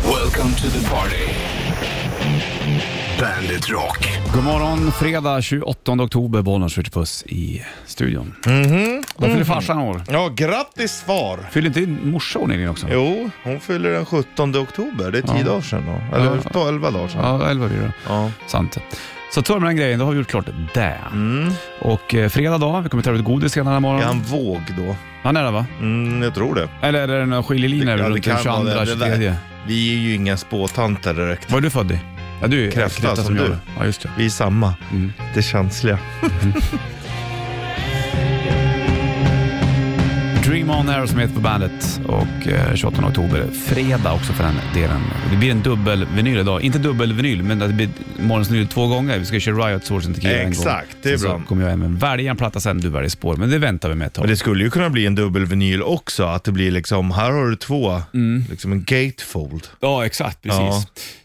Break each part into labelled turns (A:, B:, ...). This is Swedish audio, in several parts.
A: Welcome to the party. Bandit Rock.
B: God morgon, fredag 28 oktober, Bollnäs Switch Puss i studion. Då fyller
C: Mm.
B: farsan år.
C: Mhm. Ja, grattis far!
B: Fyller inte din morsa år nyligen också?
C: Jo, hon fyller den 17 oktober. Det är 10 dagar sedan då. Eller
B: Ja.
C: 11 dagar sedan.
B: Ja, 11 blir det.
C: Ja.
B: Sant. Så tar vi med den grejen, då har vi gjort klart det. Och eh, fredag dag, vi kommer ta ut godis senare imorgon.
C: Mm. Är han våg då?
B: Han är det va?
C: Mm, jag tror det.
B: Eller är det några skiljelinjer
C: Ja, det
B: runt den
C: kan vara
B: 22,
C: det. Det där-
B: 23?
C: Vi är ju inga spåtanter direkt.
B: Var är du född i? Ja, du är
C: Kräfta som
B: jag.
C: du.
B: Ja, just det.
C: Vi är samma.
B: Mm.
C: Det är känsliga.
B: Dream On Aerosmith på bandet och eh, 28 oktober, fredag också för den delen. Det blir en dubbelvinyl idag. Inte dubbelvinyl, men det blir morgons vinyl två gånger. Vi ska köra Riot Source and Tequila en gång.
C: Exakt, det är
B: Sen
C: bra.
B: Så kommer jag även välja en platta sen, du väljer spår. Men det väntar vi med ett
C: Men
B: tag.
C: det skulle ju kunna bli en dubbelvinyl också. Att det blir liksom, här har du två. Liksom en gatefold.
B: Mm. Ja, exakt. Precis.
C: Ja.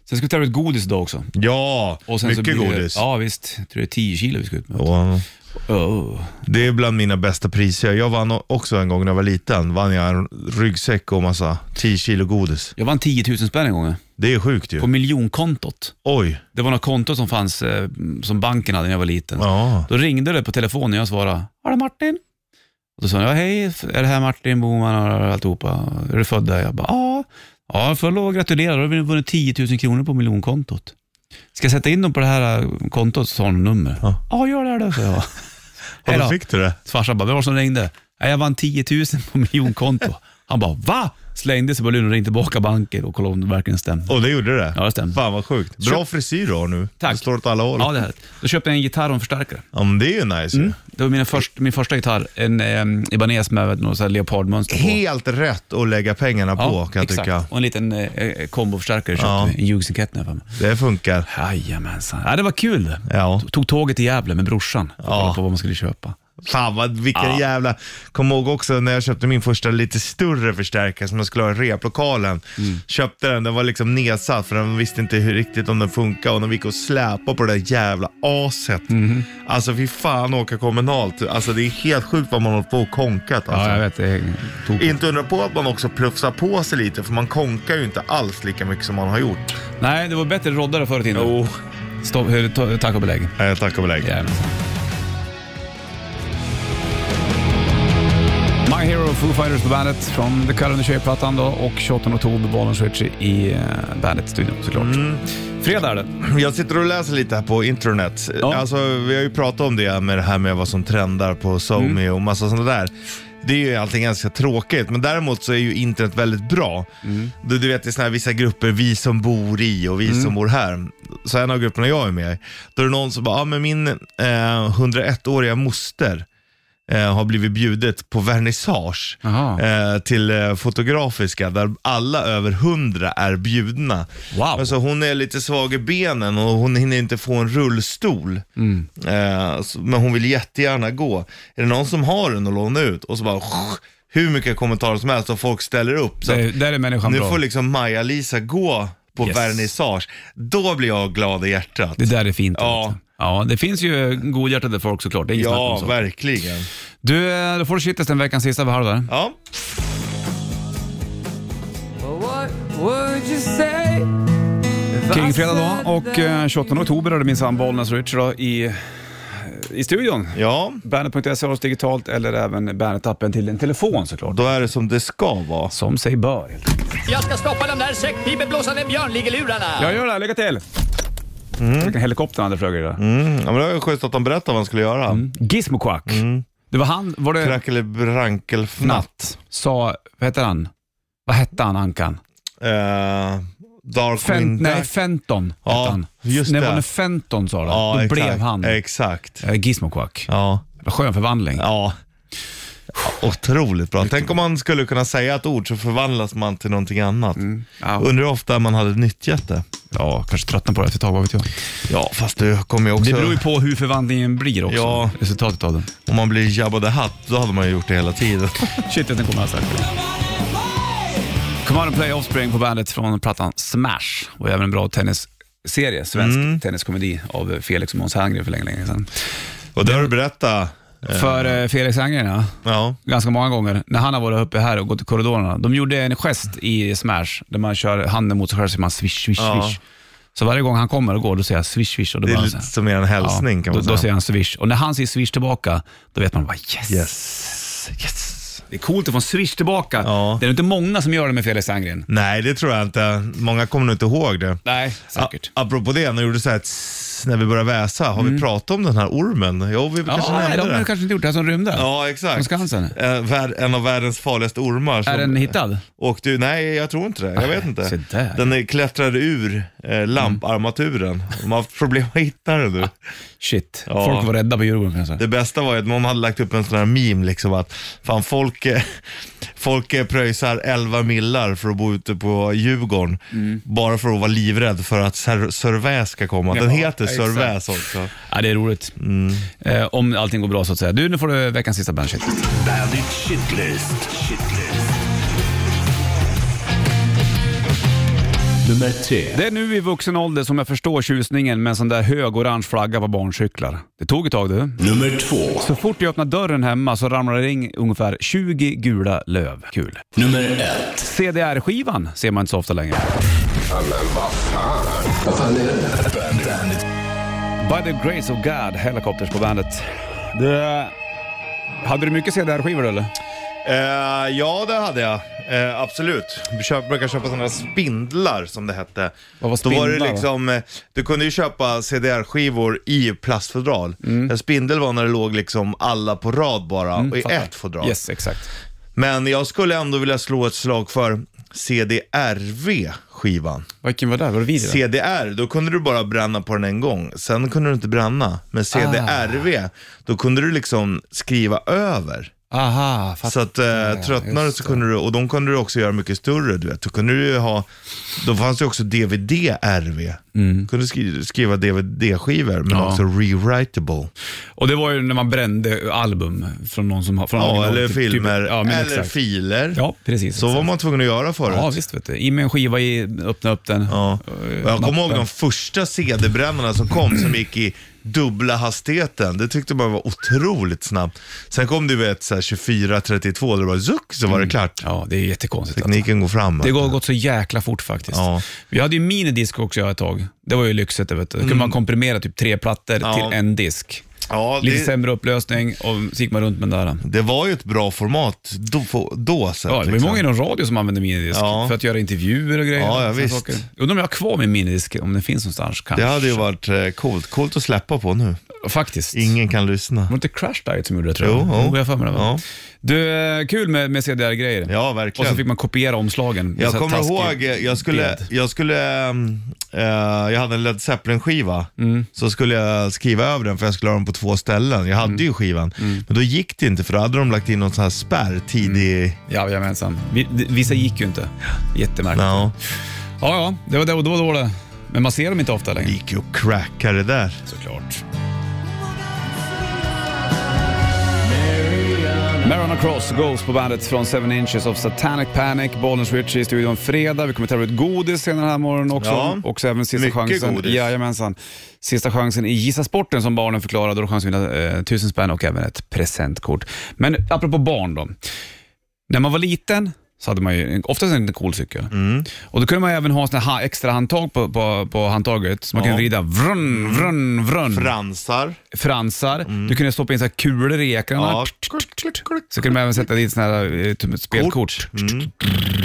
B: Sen ska vi ta ut godis idag också.
C: Ja,
B: Och sen så
C: mycket
B: blir det-
C: godis.
B: Ja, visst. Jag tror det är 10 kilo vi ska ut med.
C: Ja.
B: Oh.
C: Det är bland mina bästa priser. Jag vann också en gång när jag var liten. Vann jag en ryggsäck och massa 10 kilo godis.
B: Jag vann 10 000 spänn en gång eh.
C: Det är sjukt ju.
B: på miljonkontot.
C: Oj.
B: Det var något konto som fanns, eh, som banken hade när jag var liten.
C: Ja.
B: Då ringde det på telefonen och jag svarade, är det Martin? Och då sa han, ja hej, är det här Martin Boman och alltihopa? Är du född där? Jag bara, ja. Ja, får jag lov att gratulera, då har vi vunnit 10 000 kronor på miljonkontot. Ska jag sätta in dem på det här eh, kontot? Så sa han nummer.
C: Ja.
B: Ja, gör det då, sa jag.
C: Och
B: Hej då.
C: då fick du det.
B: Farsan bara, vem var det som ringde? "Nej, Jag vann 10 000 på miljonkonto. Han bara, va? Slängde sig på luren och ringde tillbaka banken och kollade om det verkligen stämde.
C: Och det gjorde det?
B: Ja, det stämmer.
C: Fan vad sjukt. Bra frisyr du har nu.
B: Tack.
C: Det står åt alla håll.
B: Ja, Mm.
C: Ja,
B: det här. Då köpte jag en gitarr och en förstärkare.
C: men det är ju nice ju.
B: Det var mina först, min första gitarr, en eh, Ibanez med något så här leopardmönster på.
C: Helt rätt att lägga pengarna på kan jag tycka.
B: Och en liten eh, eh, komboförstärkare köpte
C: Ja.
B: vi, en Hughes-enkät när jag var med.
C: Det funkar.
B: Jajamensan. Ja, det var kul. det.
C: Ja.
B: Tog tåget till Gävle med brorsan för att kolla på vad man skulle köpa.
C: Fan vad, vilken jävla... Kom ihåg också när jag köpte min första lite större förstärkare som jag skulle ha i replokalen. Köpte den, den var liksom nedsatt för den visste inte hur riktigt om den funkar och de gick och släpade på det där jävla aset. Alltså fy fan åka kommunalt. Alltså det är helt sjukt vad man håller på och konkat. Alltså.
B: vet. Det tog...
C: Inte undra på att man också plufsar på sig lite, för man konkar ju inte alls lika mycket som man har gjort.
B: Nej, det var bättre roddare förr i tiden. Stopp, eh, ta- tack och belägg.
C: Nej, tack och belägg.
B: Jajamensan. My Hero, Foo Fighters på bandet från The Cut and the Shape-plattan då och 28 oktober, Bollen Switch i eh, bandet-studion såklart.
C: Mm.
B: Fredag är det.
C: Jag sitter och läser lite här på internet.
B: Ja.
C: Alltså, vi har ju pratat om det med det här med vad som trendar på SoMe och massa sånt där. Det är ju allting ganska tråkigt, men däremot så är ju internet väldigt bra. Du, du vet, det är såna här vissa grupper, vi som bor i och vi som bor här. Så en av grupperna jag är med i, då är det någon som bara, ah, men min eh, 101-åriga moster eh, har blivit bjudet på vernissage.
B: Jaha.
C: eh, till eh, Fotografiska där alla över 100 är bjudna.
B: Wow.
C: Alltså, hon är lite svag i benen och hon hinner inte få en rullstol.
B: Mm.
C: Eh, så- men hon vill jättegärna gå. Är det någon som har den och låna ut? Och så bara hur mycket kommentarer som helst och folk ställer upp. Så
B: Där,
C: att,
B: där är människan
C: nu
B: bra.
C: får liksom Maja-Lisa gå på
B: Yes.
C: vernissage. Då blir jag glad i hjärtat.
B: Det där är fint.
C: Ja.
B: vet du. ja, det finns ju godhjärtade folk såklart. Det är inget snack om
C: Ja,
B: så.
C: verkligen.
B: Du, eh, då får du shitlist den veckans sista halv där.
C: Ja.
B: Kingfredag då och eh, 28 oktober är det minsann Bollnäs Rich då i, i studion.
C: ja,
B: Bandet.se har oss digitalt eller även Bandet-appen till en telefon såklart.
C: då är det som det ska vara.
B: Som sig bör. helt enkelt.
D: Jag ska stoppa de där säckpipeblåsande björnligelurarna.
B: Jag gör det, lycka till! Vilken helikopter han hade flög i det där.
C: Mm, ja, men det var ju schysst att de berättade vad han skulle göra.
B: Mm. Gizmo Quack.
C: Mm.
B: Det var han, var det
C: Krackelebrankelfnatt.
B: Natt, sa, vad heter han? Vad hette han Ankan?
C: Eh, Dark
B: Fent,
C: Wind
B: nej,
C: Dark-
B: Fenton
C: Ja,
B: hette han.
C: just
B: När
C: det.
B: var det Fenton sa du?
C: Ja,
B: Då
C: exakt,
B: blev han eh,
C: Exakt.
B: Gizmo Quack.
C: Ja.
B: Skön förvandling.
C: ja. Otroligt bra. Tänk om man skulle kunna säga ett ord så förvandlas man till någonting annat.
B: Ja.
C: Undrar hur ofta man hade nyttjat det.
B: Ja, kanske tröttnar på det efter ett tag, vad vet jag.
C: Ja, fast det kommer ju också...
B: Det beror ju på hur förvandlingen blir också.
C: Ja.
B: Resultatet av den.
C: Om man blir Jabba the Hutt, då hade man ju gjort det hela tiden.
B: Shit, den kommer alltså. Come on and play Offspring på bandet från plattan Smash. Och även en bra
C: Mm.
B: tennisserie, svensk tenniskomedi av Felix och Måns Herngren för länge, länge sedan.
C: Och det har du berättat
B: för eh, Felix Herngren, ja.
C: Ja.
B: ganska många gånger, när han har varit uppe här och gått i korridorerna. De gjorde en gest i Smash, där man kör handen mot sig själv så säger man swish, swish,
C: Ja.
B: swish. Så varje gång han kommer och går, då säger jag swish, swish. Och då
C: Det
B: bara
C: är
B: så
C: lite
B: här-
C: som en hälsning kan
B: då,
C: man
B: då säger
C: säga.
B: han swish. Och när han säger swish tillbaka, då vet man bara yes.
C: Yes. Yes.
B: Det är coolt att få en swish tillbaka.
C: Ja.
B: Det är nog inte många som gör det med Felix Herngren.
C: Nej, det tror jag inte. Många kommer nog inte ihåg det.
B: Nej, säkert. Mm.
C: A- apropå det, när du gjorde så här tss, när vi började väsa, har vi pratat om den här ormen? Jo, vi kanske
B: ja, nej,
C: nämnde
B: de har
C: det.
B: ju kanske inte gjort det här som rymde.
C: Ja,
B: Från
C: exakt.
B: Skansen.
C: Eh, vär- En av världens farligaste ormar. Som
B: Är den hittad?
C: Och du, nej jag tror inte det. Jag vet
B: se
C: inte.
B: där.
C: Den är- klättrade ur eh, lamparmaturen. De har haft problem att hitta den nu.
B: Shit,
C: Ja.
B: folk var rädda på Djurgården kan jag säga.
C: Det bästa var ju att någon hade lagt upp en sån här meme liksom att fan folk, eh, folk eh, pröjsar 11 millar för att bo ute på Djurgården. Bara för att vara livrädd för att Sir, Sir Väs ska komma. Den
B: Ja,
C: heter Sir
B: exakt.
C: Väs också.
B: Ja, det är roligt.
C: Mm.
B: Eh, om allting går bra så att säga. Du, nu får du veckans sista bandshit.
A: Bandit Shitlist. Shitlist. Nummer tre.
B: Det är nu i vuxen ålder som jag förstår tjusningen med en sån där hög orange flagga på barncyklar. Det tog ett tag du.
A: Nummer två.
B: Så fort jag öppnar dörren hemma så ramlar det in ungefär 20 gula löv. Kul.
A: Nummer ett.
B: CDR-skivan ser man inte så ofta längre.
A: Bandit.
B: By the grace of God, Helicopters på bandet. Det... Hade du mycket CDR-skivor eller?
C: Eh, ja det hade jag. Eh, absolut. Jag köp, brukar köpa sådana spindlar som det hette.
B: Vad var
C: Då var det
B: spindlar, va?
C: liksom, eh, du kunde ju köpa CDR-skivor i plastfodral.
B: Mm.
C: En spindel var när det låg liksom alla på rad bara, och i
B: Fattar.
C: ett fodral.
B: Yes, exakt.
C: Men jag skulle ändå vilja slå ett slag för CDRV-skivan.
B: Vilken var det? Var det video?
C: CDR, då kunde du bara bränna på den en gång. Sen kunde du inte bränna. Men CDRV,
B: Ah.
C: då kunde du liksom skriva över.
B: Aha, fattar.
C: Så att
B: Ah,
C: eh, tröttnade du så kunde du, och de kunde du också göra mycket större. Du vet. Då kunde du ju ha, då fanns det också DVD-RV.
B: Mm.
C: kunde skri- skriva DVD-skivor, men också rewritable.
B: Och det var ju när man brände album från någon som... Från
C: Ja,
B: original-
C: eller
B: typ-
C: filmer,
B: typ- ja, men
C: eller
B: exakt.
C: filer.
B: Ja, precis.
C: Så
B: exakt.
C: var man tvungen att göra förut.
B: Ja, visst vet du. In med en skiva, i, öppna upp den.
C: Ja.
B: Eh,
C: Och jag kommer ihåg
B: mappen.
C: de första CD-brännarna som kom som gick i dubbla hastigheten. Det tyckte man var otroligt snabbt. Sen kom du vet så här 24-32 där det bara zuck så var det klart.
B: Mm. Ja, det är jättekonstigt. Alltså.
C: Tekniken går framåt.
B: Det har gått så jäkla fort faktiskt.
C: Ja.
B: Vi hade ju minidisk också ett tag. Det var ju lyxigt. det Vet du. Då kunde man komprimera typ tre plattor
C: Mm. Ja.
B: till en disk.
C: Ja,
B: Lite
C: det,
B: sämre upplösning och så gick man runt med den där.
C: det var ju ett bra format då. få- då sett,
B: Ja, det var ju
C: liksom.
B: många inom radio som använde minidisk
C: Ja.
B: för att göra intervjuer och grejer.
C: Ja, ja,
B: Såna
C: visst.
B: saker. Undrar om jag har kvar min minidisk, om den finns någonstans kanske.
C: det hade ju varit eh, coolt. Coolt att släppa på nu.
B: Faktiskt.
C: Ingen kan lyssna.
B: Var det inte Crash Diet som gjorde det tror jag?
C: Jo, jo.
B: jag har för mig det. va?
C: Ja.
B: Du, eh, kul med, med CDR-grejer.
C: Ja,
B: Och
C: verkligen.
B: så fick man kopiera omslagen. med så
C: Jag
B: här
C: kommer
B: taskig
C: ihåg, eh, jag skulle,
B: bild.
C: jag skulle, ehm, eh, jag hade en Led Zeppelin-skiva.
B: Mm.
C: Så skulle jag skriva över den för jag skulle ha den på två ställen. Jag hade
B: Mm.
C: ju skivan. Men då gick det inte för då hade de lagt in någon sån här spärr tidig.
B: Mm. Jajamensan. Vi- d- Vissa gick ju inte. Jättemärkligt. Ja,
C: Ja,
B: ja, det var det och då, då det. Men man ser dem inte ofta
C: det
B: längre.
C: gick ju att cracka det där.
B: Såklart. Mariana Cross, Ghost på bandet från Seven Inches of Satanic Panic. Bollnäs Richie i studion fredag. Vi kommer tävla ut godis senare den här morgonen också.
C: Ja,
B: och så även sista
C: mycket
B: chansen.
C: godis.
B: Jajamensan. Sista chansen i Gissa Sporten som barnen förklarade. Då har du chans att vinna eh, tusen spänn och även ett presentkort. Men apropå barn då. När man var liten så hade man ju en- oftast en cool cykel.
C: Mm.
B: Och då kunde man ju även ha såna här extra handtag på, på, på handtaget. Så man kunde vrida
C: Mm.
B: vrun, vrun, vrun
C: Fransar.
B: fransar. Du kunde stoppa in så här kulor i ekrarna.
C: Mm. Ja.
B: Så kunde man även sätta dit såna här eh, typ spelkort.
C: Mm.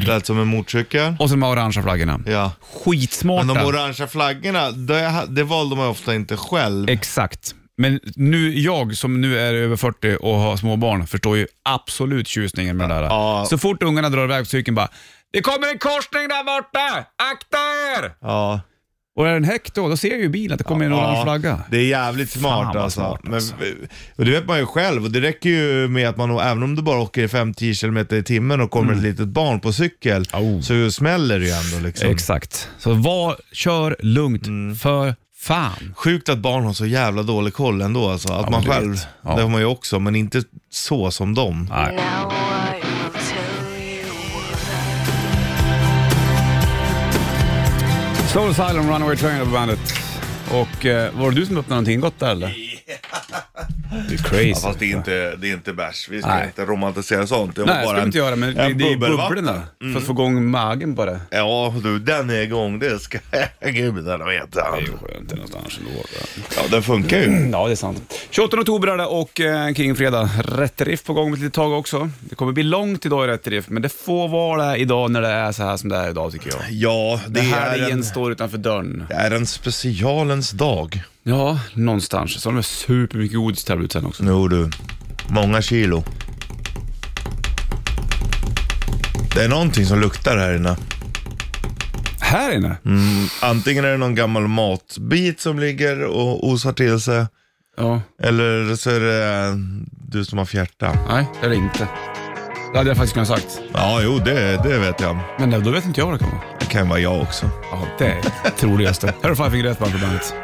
C: Lät som en motorcykel.
B: Och så de här orangea flaggorna.
C: Ja.
B: Skitsmarta.
C: Men de orangea flaggorna, det, det valde man ju ofta inte själv.
B: Eh. Exakt. Men nu, jag som nu är över 40 och har små barn förstår ju absolut tjusningen med det där.
C: Ja.
B: Så fort ungarna drar iväg på cykeln bara “Det kommer en korsning där borta! Akta er!”
C: Ja.
B: Och är det en häck då, då ser jag ju i bilen att det kommer en orange flagga.
C: Det är jävligt smart
B: Fan vad
C: alltså.
B: smart, alltså.
C: Men, och det vet man ju själv och det räcker ju med att man, även om du bara åker 5-10 km i timmen och
B: Mm.
C: kommer ett litet barn på cykel,
B: Oh.
C: så smäller det ju ändå liksom.
B: Exakt. Så var, kör lugnt,
C: Mm.
B: för fan.
C: Sjukt att barn har så jävla dålig koll ändå alltså. Att
B: men
C: man
B: du vet.
C: själv,
B: Ja.
C: det har man ju också, men inte så som dem.
E: Now I will tell you what
B: Soul Asylum Runaway Train på bandet. Och eh, var det du som öppnade någonting gott där eller? Det är crazy.
C: Ja, fast det är inte, det är inte bärs. Vi ska
B: Nej.
C: inte romantisera sånt. Det var
B: Nej, det ska vi inte göra, men det,
C: en Mm.
B: det är
C: bubbelvatten.
B: bubblorna. För att få igång magen bara.
C: Ja, du, den är igång. Det ska gudarna veta.
B: Det är ju skönt, det är något annars ändå. va?
C: Ja, den funkar ju.
B: Ja, det är sant. 28 oktober är det och eh, Kingfredag. Rätt Riff på gång om ett litet tag också. Det kommer bli långt idag i Rätt Riff, men det får vara det idag när det är så här som det är idag tycker jag.
C: Ja, det,
B: Det här
C: är,
B: igen
C: en,
B: står utanför dörren.
C: det är en specialens dag.
B: Ja, någonstans. Så har de supermycket godis tävlat ut sen också.
C: Jo du, många kilo. Det är någonting som luktar här inne.
B: Här inne?
C: Antingen är det någon gammal matbit som ligger och osar till sig.
B: Ja.
C: Eller så är det eh, du som har fjärta.
B: Nej, det är det inte. Det hade jag faktiskt kunnat sagt.
C: Ja, jo, det, det vet jag.
B: Men då vet inte jag vad det kan vara.
C: Det kan vara jag också.
B: Ja, det är det troligaste. Här har Five Finger Death Punch på bandet.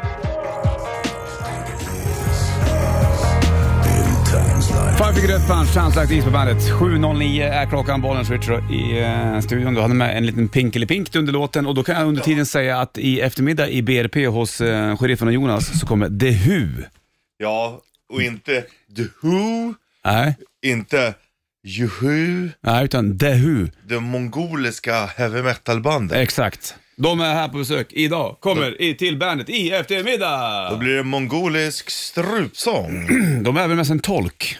B: Five Finger Death Punch, Chance Like This på bandet. 7.09 är klockan, bollen switcher i eh, studion. Du hade med en liten pinkelipink under låten och då kan jag under tiden säga att i eftermiddag i BRP hos eh, sheriffen och Jonas så kommer The Who.
C: Ja, och inte the who,
B: Nej,
C: inte juhu,
B: nej utan The Who.
C: det mongoliska heavy metal-bandet.
B: Exakt. De är här på besök idag, kommer i, till bandet i eftermiddag.
C: Då blir det mongolisk strupsång.
B: De är även med sig en tolk.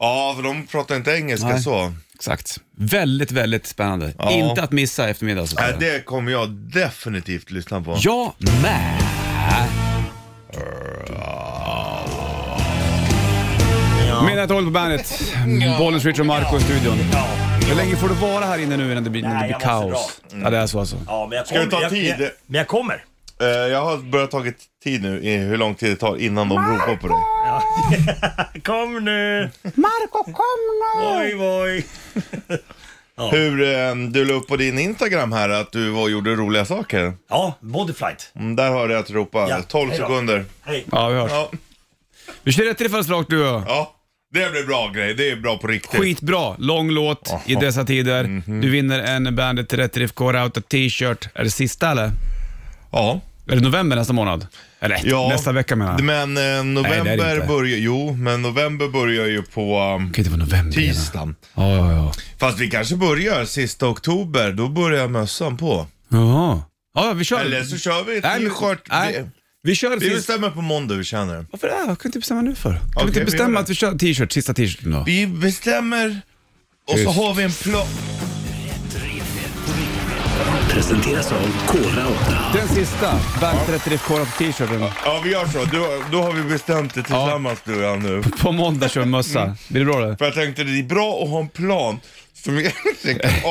C: Ja, för de pratar inte engelska
B: Nej.
C: så.
B: Exakt. Väldigt, väldigt spännande.
C: Ja.
B: Inte att missa i eftermiddag. Så att
C: Nej,
B: säga.
C: det kommer jag definitivt lyssna på.
B: Jag med. Mina tolv på bandet. Bollens Richard och Marco i studion. Hur länge får du vara här inne nu innan det blir, innan det
F: Nej,
B: blir
F: jag måste
B: kaos?
C: Mm.
B: Ja, det är så alltså.
F: Ja, men jag
C: Ska du
F: kommer-
C: ta tid?
F: Jag, jag, men jag kommer.
C: Eh, Jag har börjat tagit tid nu i hur lång tid det tar innan de ropar på dig.
F: Kom nu!
B: Marco kom
F: Oj, oj.
C: Hur eh, du la upp på din Instagram här att du var och gjorde roliga saker.
F: Ja, bodyflight.
C: Mm, där hörde jag att ropa.
F: Ja,
C: 12
F: hej då.
C: sekunder.
F: Hej.
B: Ja, vi hörs.
C: Ja,
B: Vi kör rätt i det rakt du och jag.
C: ja, det blir bra grej. Det är bra på riktigt.
B: Skitbra, lång låt i dessa tider.
C: Mhm.
B: Du vinner en Bandet Rätt Riff Core Out t-shirt. Är det sista eller?
C: Ja.
B: Är det november nästa månad? Eller
C: ja.
B: nästa vecka menar jag.
C: Men
B: Nej, det
C: eh,
B: är det
C: november
B: inte.
C: börjar... Jo, men november börjar ju på um,
B: kan inte vara november.
C: tisdagen.
B: Ja, ja, ja.
C: Fast vi kanske börjar sista oktober. Då börjar mössan på.
B: Jaha. Ja, ja, vi kör.
C: Eller så kör vi
B: Nej, men-
C: t-shirt.
B: nej.
C: Vi-
B: Vi kör
C: Vi
B: sista...
C: bestämmer på måndag hur vi känner.
B: Varför det? Jag kan inte bestämma nu för. Kan vi
C: Okej,
B: inte
C: vi gör
B: bestämma
C: det.
B: att vi kör t-shirt, sista t-shirten då?
C: Vi bestämmer och så
B: Just.
C: har vi en plan.
A: Presenteras av Kora 8.
B: Den sista, Bandet Rätt Riff Core Out t-shirten.
C: Ja, vi gör så. Då, då har vi bestämt det tillsammans du och jag nu.
B: På måndag kör vi mössa. Mm. Blir det bra det?
C: För jag tänkte det är bra att ha en plan som egentligen kan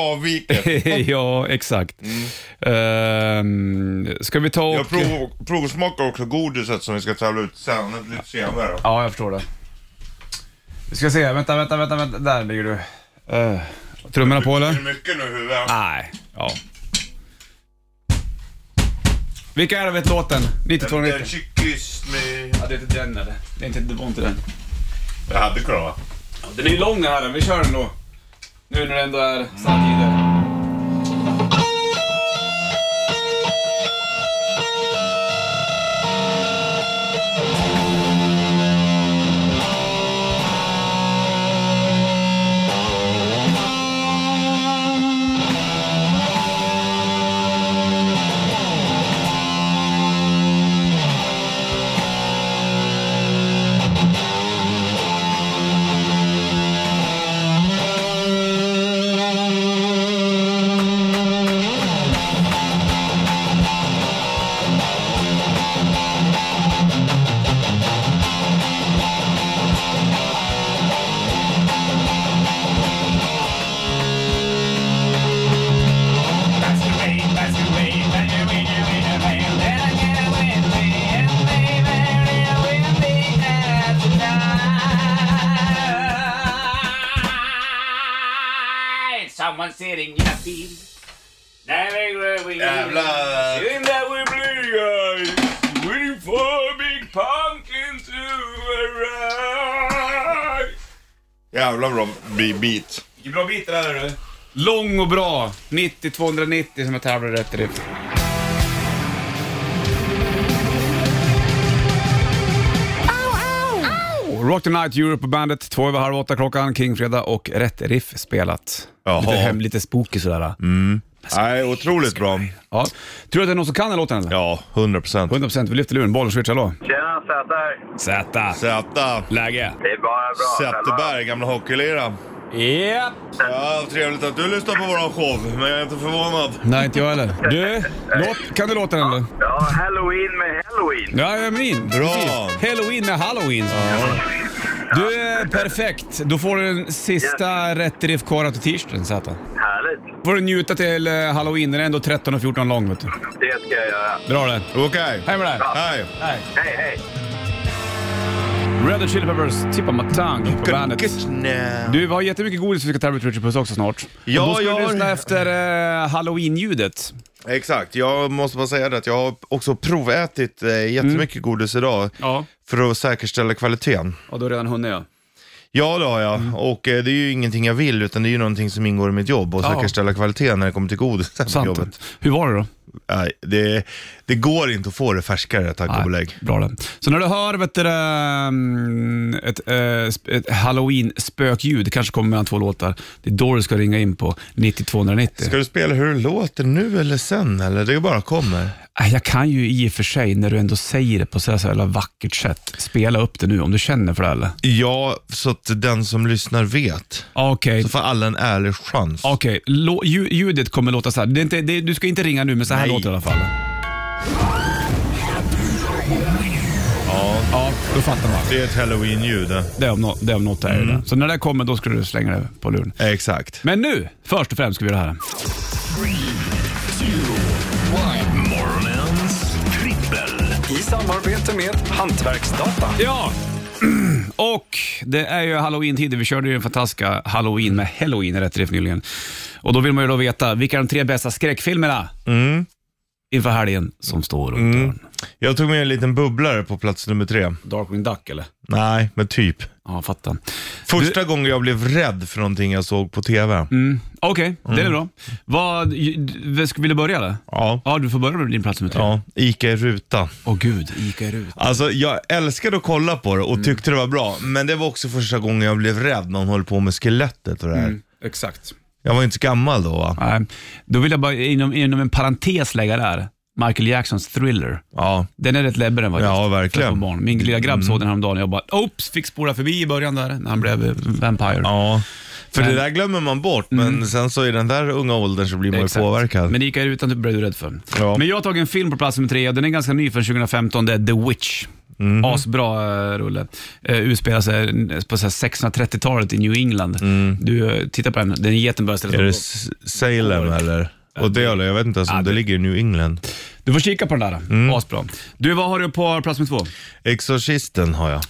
C: avvika.
B: ja, exakt. Ehm, ska vi ta och...
C: Mm. Jag prov, provsmakar också godiset som vi ska tävla ut sen, lite senare.
B: Ja, jag förstår det. Vi ska se, vänta, vänta, vänta, vänta. där ligger du. Uh, trummorna på
C: Det
B: eller?
C: är mycket nu i huvudet.
B: Nej. Ja. Vilka är det vet låten? 9290.
C: Then she kissed me.
B: Ja, det är inte den eller? Det, är inte, det var inte den.
C: Jag hade kunnat vara.
B: Den är ju lång den här, men vi kör den då. Nu när det ändå är samtider.
G: Someone's sitting in a field.
C: Jävlar.
G: In that we blue eyes, waiting for a big pumpkin to arrive.
C: Jävla bra bi- beat.
B: Vilken bra bit det där är du. Lång och bra. 90-290 som jag tävlar rätt i. Rock the Night Europe på bandet, två över halv åtta klockan, Kingfredag och rätt riff spelat.
C: Jaha.
B: Lite, hem, lite spooky sådär.
C: Nej, otroligt bra.
B: Ja. Tror du att det är någon som kan den låten eller?
C: Ja, 100 procent.
B: 100% vi lyfter luren, bollen switch, hallå?
H: Tjena Säter!
B: Zäta!
C: Zäta.
B: Läge?
H: Det är bara bra.
C: Zetterberg, gamla hockeyliraren.
D: Japp!
C: Ja, trevligt att du lyssnar på våran show, men jag är inte förvånad.
B: Nej, inte jag heller. Du, låt, kan du låten eller?
H: Ja, halloween med halloween.
B: Jajamän!
C: Bra.
B: precis. Halloween med halloween. Du, är perfekt. Då får du den sista rätt riff kvar här till tisdagen, Zäta.
H: Härligt.
B: får du njuta till eh, halloween. Den är ändå 13 och 14 lång, vet du.
H: Det ska jag göra.
B: Dra det.
C: Okej.
B: Hej med dig!
C: Hej.
H: Hej, hej!
B: Red Hot Chili Peppers, Tippa My Tongue på bandet.
C: Now.
B: Du, vi har jättemycket godis vi ska tävla ut Richard Puss också snart.
C: Ja,
B: och då ska
C: jag
B: du
C: har-
B: lyssna efter eh, halloween-ljudet.
C: Exakt, jag måste bara säga det att jag har också provätit eh, jättemycket godis idag
B: Ja.
C: för att säkerställa kvaliteten.
B: Och då har redan hunnit ja.
C: Ja, det har jag. Och eh, det är ju ingenting jag vill, utan det är ju någonting som ingår i mitt jobb, att
B: Ja.
C: säkerställa kvaliteten när det kommer till godis på jobbet.
B: Sant. Hur var det då?
C: Nej, det, det går inte att få det färskare, tack och belägg.
B: Bra det. Så när du hör vet du, ehm, ett, eh, sp- ett halloween-spökljud, kanske kommer mellan två låtar, det är då du ska ringa in på 9290.
C: Ska du spela hur det låter nu eller sen, eller det bara kommer?
B: Äh, Jag kan ju i och för sig, när du ändå säger det på så här, så här jävla vackert sätt, spela upp det nu om du känner för det eller?
C: Ja, så att den som lyssnar vet.
B: Ah, Okej.
C: Så får alla en ärlig chans.
B: Okej, lå- lju- ljudet kommer låta så här. Det är inte, det, du ska inte ringa nu, men så här
C: Nej.
B: låter det i alla fall. Ja. ja, då fattar man.
C: Det är ett halloween-ljud. eh.
B: Det är om, nå- det är om något är det där. Så när det där kommer, då ska du slänga det på luren.
C: Exakt.
B: Men nu, först och främst ska vi göra det här.
A: Morgonens trippel.
I: I samarbete med Hantverksdata.
B: Ja! Och det är ju halloween-tider. Vi körde ju den fantastiska halloween med halloween i rätt riff nyligen. Och då vill man ju då veta, vilka är de tre bästa skräckfilmerna inför helgen som står runt dörren?
C: Jag tog med en liten bubblare på plats nummer tre.
B: Darkwing Duck eller?
C: Nej, men typ.
B: Ja, fattar.
C: Första gången jag blev rädd för någonting jag såg på TV.
B: Okej, det
C: Mm.
B: är bra. Vad, vad- vill du börja eller?
C: Ja.
B: Ja, du får börja med din plats nummer tre.
C: Ja, Ica i ruta.
B: Åh gud, Ica är ut.
C: Alltså jag älskade att kolla på det och tyckte det var bra. Men det var också första gången jag blev rädd när hon höll på med skelettet och det här.
B: Exakt.
C: Jag var inte så gammal då va?
B: Nej, då vill jag bara inom, inom en parentes lägga där. Michael Jacksons Thriller.
C: Ja.
B: Den är rätt läbbig den faktiskt.
C: Ja,
B: För
C: verkligen. Mm.
B: att få Barn. Min lilla grabb såg den häromdagen och jag bara, oops, fick spola förbi i början där när han blev eh, Vampire.
C: Ja. För
B: Men-
C: det där glömmer man bort, men sen så i den där unga åldern så blir man ju
B: Exakt.
C: påverkad.
B: Men Ica är utan typ blev du rädd för.
C: Ja.
B: Men jag har tagit en film på plats nummer tre och den är ganska ny från 2015. Det är The Witch.
C: Mm.
B: Asbra eh, rulle. Eh, utspelar sig eh, på så här 1630-talet i New England. Du eh, tittar på den, den är jättebra
C: Mm. Är det S- Salem eller? Och det, jag vet inte ens om det ligger i New England.
B: Du får kika på den där.
C: Mm.
B: Asbra. Du, vad har du på plats nummer två?
C: Exorcisten har jag.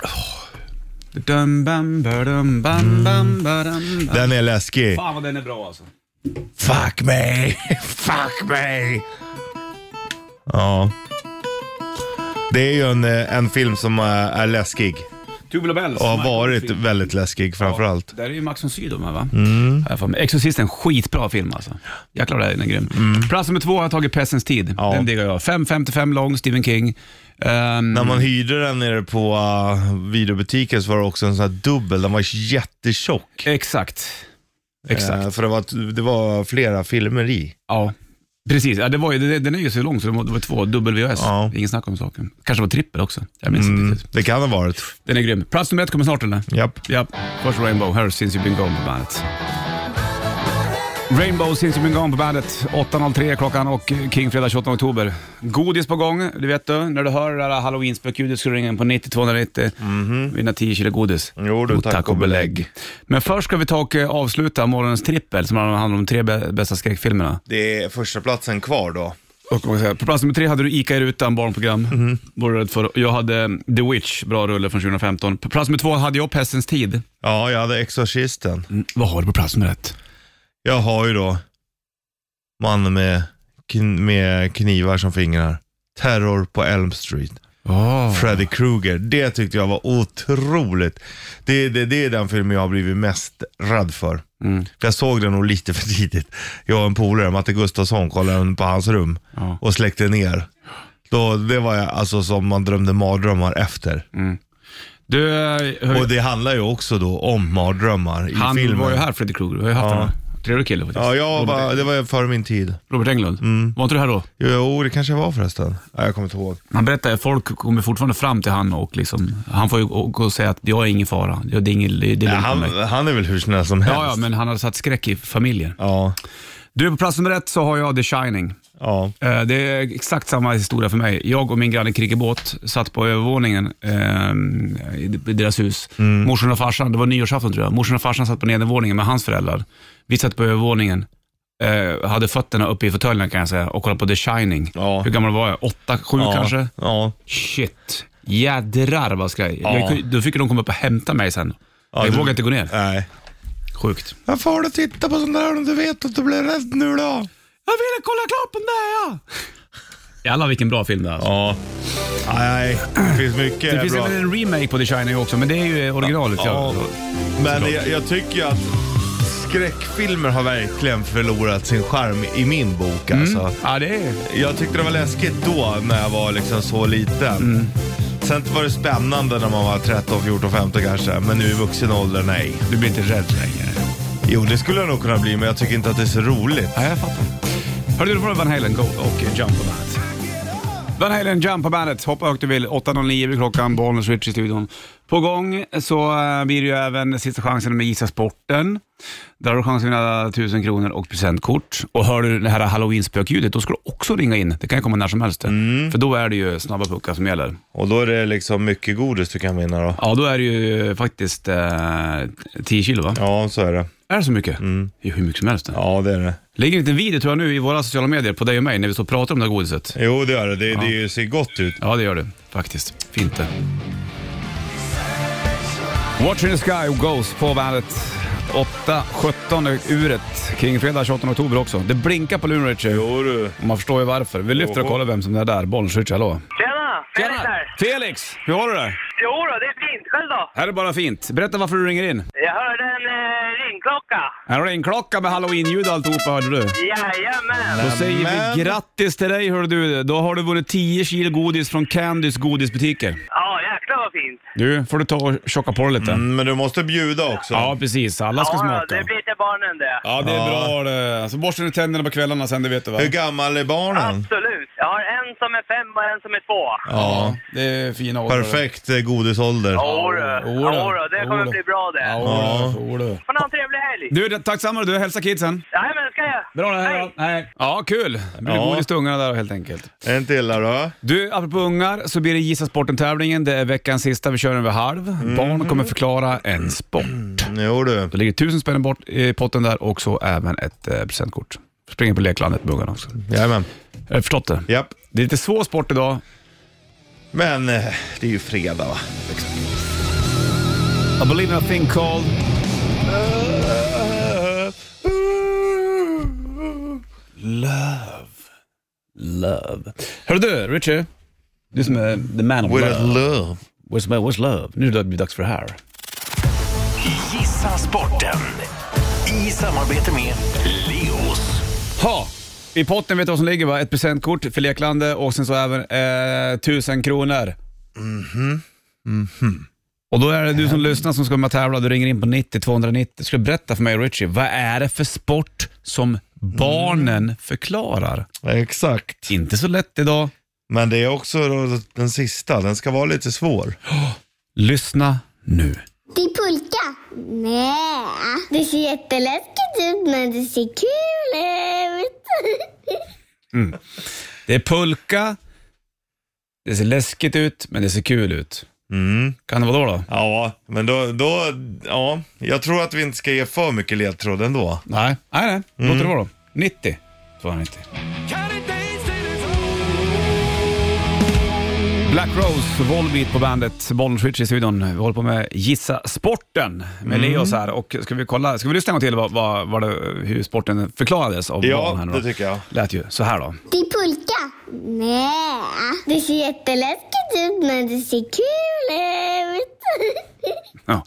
B: Dum, bam, badum, bam, bam, badum, bam.
C: Den är läskig.
B: Fan vad den är bra alltså.
C: Fuck me! Fuck me! Ja. Det är ju en, eh, en film som är, är läskig
B: Tubular Bells.
C: och har
B: Michael
C: varit
B: Fick.
C: väldigt läskig framförallt.
B: Där är ju Max von Sydow med va? Mm. Exorcisten, skitbra film alltså. Jäklar vad den är grym. Plats nummer två har jag tagit Pessens tid.
C: Mm. Ja.
B: Den diggar jag. 5.55 lång, Stephen King. Ehm,
C: När man hyrde den nere på uh, videobutiken så var det också en sån här dubbel, den var jättetjock.
B: exakt. Exakt.
C: Eh, för det var, det var flera filmer i.
B: Ja. Precis, ja, det var ju, det, den är ju så lång så det var, det var två WVS.
C: Ja.
B: Ingen snack om saken. Kanske var trippel också. Jag minns inte
C: Mm,
B: riktigt.
C: det kan ha varit.
B: Den är grym. Plats nummer ett kommer snart eller?
C: Japp.
B: Ja, först Rainbow. Här är Since You've Been Gone på bandet. Rainbow Since You've Been Gone på bandet. 8.03 klockan och King fredag 28 oktober. Godis på gång, det vet du. När du hör det där halloween-spökljudet ska du ringa in på 9290 vinna 10 kilo godis.
C: Mhm. Jo du,
B: Och
C: tack och belägg.
B: Men först ska vi ta och eh, avsluta morgonens trippel som handlar om de tre bä- bästa skräckfilmerna.
C: Det är första platsen kvar då.
B: Och vad ska jag säga, på plats nummer tre hade du Ica i rutan, barnprogram. Var du rädd för. Jag hade eh, The Witch, bra rulle från 2015. På plats nummer två hade jag Pestens tid.
C: Ja, jag hade Exorcisten.
B: Vad har du på plats nummer ett?
C: Jag har ju då mannen med, kn- med knivar som fingrar. Terror på Elm Street. Freddy Krueger. Det tyckte jag var otroligt. Det, det, det är den filmen jag har blivit mest rädd för.
B: Mm.
C: För jag såg den nog lite för tidigt. Jag och en polare, Matte Gustafsson, kollade den på hans rum
B: Ja.
C: och släckte ner. Då, det var jag, alltså som man drömde mardrömmar efter.
B: Du, eh, hör,
C: Och det handlar ju också då om mardrömmar i
B: han
C: filmen.
B: var ju här, Freddy Krueger. Vi har ju haft
C: Ja.
B: honom. Trevlig kille faktiskt.
C: Ja, Mm. jag
B: Robert,
C: var, det var före min tid.
B: Robert Englund. Var inte du här då?
C: Jo, det kanske jag var förresten. Ja, jag kommer inte ihåg.
B: Han berättar att folk kommer fortfarande fram till han och liksom, han får ju gå gå och säga att jag är ingen fara. Jag- Det är, ingen, det är lugnt
C: Ja,
B: med
C: han,
B: mig.
C: han är väl hur snäll som helst.
B: Ja, ja, men han har satt skräck i familjen.
C: ja,
B: Du, på plats nummer ett så har jag The Shining.
C: ja.
B: Eh, Det är exakt samma historia för mig. Jag och min granne Krickebåt satt på övervåningen eh, i d- i deras hus.
C: Mm.
B: Morsan och farsan, det var nyårsafton tror jag, morsan och farsan satt på nedervåningen med hans föräldrar. Vi satt på övervåningen, eh, hade fötterna uppe i fåtöljerna kan jag säga och kollade på The Shining.
C: Ja.
B: Hur gammal var jag? Åtta, sju
C: ja.
B: kanske?
C: Ja.
B: Shit. Jädrar vad skraj.
C: Ja.
B: Jag, kunde- då fick de komma upp och hämta mig sen.
C: Ja,
B: jag
C: du-
B: vågade inte gå ner.
C: Nej.
B: Sjukt.
C: Varför har du tittat på sånt där om du vet att du blir rädd nu då?
B: Jag ville kolla klart på den där ja! Jävlar vilken bra film det är. Alltså.
C: Ja. Nej, det finns mycket
B: Det finns
C: bra.
B: väl en remake på The Shining också, men det är ju originalet.
C: Ja.
B: Ja.
C: Men jag, jag tycker ju att skräckfilmer har verkligen förlorat sin charm i min bok alltså.
B: Ja, det är...
C: Jag tyckte det var läskigt då när jag var liksom så liten. Sen var det spännande när man var 13, 14, 15 kanske. Men nu i vuxen ålder, nej.
B: Du blir inte rädd längre.
C: Jo, det skulle jag nog kunna bli, men jag tycker inte att det är så roligt.
B: Ja, jag fattar. Hörde du, då får du Van Halen Go och eh, Jump på bandet. Van Halen Jump på bandet. Hoppa högt du vill. 8.09 blir klockan. Bollnäs Rich i studion. På gång så eh, blir det ju även sista chansen med Gissa Sporten. Där har du chansen att vinna 1000 kronor och presentkort. Och hör du det här halloween-spökljudet, då ska du också ringa in. Det kan ju komma när som helst. För då är det ju snabba puckar som gäller.
C: Och då är det liksom mycket godis du kan vinna då.
B: Ja, då är det ju faktiskt eh, 10 kilo va?
C: Ja, så är det.
B: Är det så mycket? Det är hur mycket som helst. Mm. Ja.
C: Ja, det är det.
B: Ligger det inte en video tror jag nu i våra sociala medier på dig och mig när vi står och pratar om det här godiset?
C: Jo, det gör det. Det, det ser gott ut.
B: Ja, det gör det faktiskt. Fint det. Watch in the sky och Ghost på bandet. 8.17 uret kring fredag 28 oktober också. Det blinkar på luren Richie. Jo du. Man förstår ju varför. Vi lyfter och kollar vem som är där. Bollnäs Richie, hallå.
H: Tjena! Felix här.
B: Felix! Hur har du det?
H: Jo då, det är fint. Själv då?
B: Här är bara fint. Berätta varför du ringer in.
H: Jag hörde en eh, ringklocka.
B: Här har du en klocka med halloween-ljud och alltihopa hörde du.
H: Jajamän!
B: Då säger
C: Nämen.
B: vi grattis till dig hör du. Då har du vunnit 10 kilo godis från Candys godisbutiker.
H: Ja, jäklar vad fint.
B: Du, får du ta och tjocka på dig lite.
C: Mm, Men du måste bjuda också.
B: Ja, precis. Alla ska
H: Ja,
B: smaka.
H: det blir till barnen det.
B: Ja, det är bra det. Så borstar du tänderna på kvällarna sen, det vet du va?
C: Hur gammal är barnen?
H: Absolut. Jag har en som är fem och en som är två.
B: Ja, det är fina år.
C: Perfekt eh, godisålder.
H: Jodå, jodå, det kommer
B: Jodå.
H: bli bra det.
B: Ja, jodå.
H: Får ni ha en trevlig helg?
B: Du, det- tack samma du. Hälsa kidsen.
H: Jajamän, det ska jag.
B: Bra det här. Hej. Ja, kul. Det blir
C: Ja.
B: godis till ungarna där helt enkelt.
C: En till här då.
B: Du, apropå ungar så blir det Gissa Sporten-tävlingen. Det är veckans sista, vi kör den vid halv. Barn kommer förklara en sport.
C: Jo du.
B: Det ligger tusen spänn bort i potten där och så även ett eh, presentkort. Springer på leklandet med ungarna också.
C: Jajamän.
B: Har du förstått det?
C: Japp.
B: Det är lite svår sport idag.
C: Men eh, det är ju fredag va?
B: I believe in a thing called... Love. Love. Hörru du, Richard. Du som är the man of
C: With a
B: love.
C: love.
B: Where's, my- where's love? Nu är det dags för det här.
I: Gissa sporten. I samarbete med Leos.
B: Ha! I potten vet du vad som ligger va? Ett presentkort för Leklandet och sen så även eh, tusen kronor. Mm-hmm. Och då är det du som lyssnar som ska vara med och tävla. Du ringer in på 90 290. Du ska berätta för mig och Richie, vad är det för sport som barnen förklarar?
C: Exakt.
B: Inte så lätt idag.
C: Men det är också då den sista. Den ska vara lite svår.
B: Lyssna nu.
J: Det är pulka. Nej, det ser jätteläskigt ut men det ser kul ut.
B: Det är pulka. Det ser läskigt ut, men det ser kul ut.
C: Mm.
B: Kan det vara då? då?
C: Ja, men då, då, ja. Jag tror att vi inte ska ge för mycket ledtråd ändå.
B: Nej, nej, nej. Låt
C: Mm.
B: det vara då. 90 290. Black Rose, Volbeat på bandet, Bollnäs Switch i studion. Vi håller på med Gissa Sporten med
C: Mm.
B: Leos här. Och ska vi kolla, ska vi lyssna en gång till vad, vad, vad det, hur sporten förklarades av barn
C: Ja,
B: här nu
C: det
B: då?
C: tycker jag.
B: Lät ju så här då.
J: Det är pulka. Nej, det ser jätteläskigt ut men det ser kul ut.
B: Ja.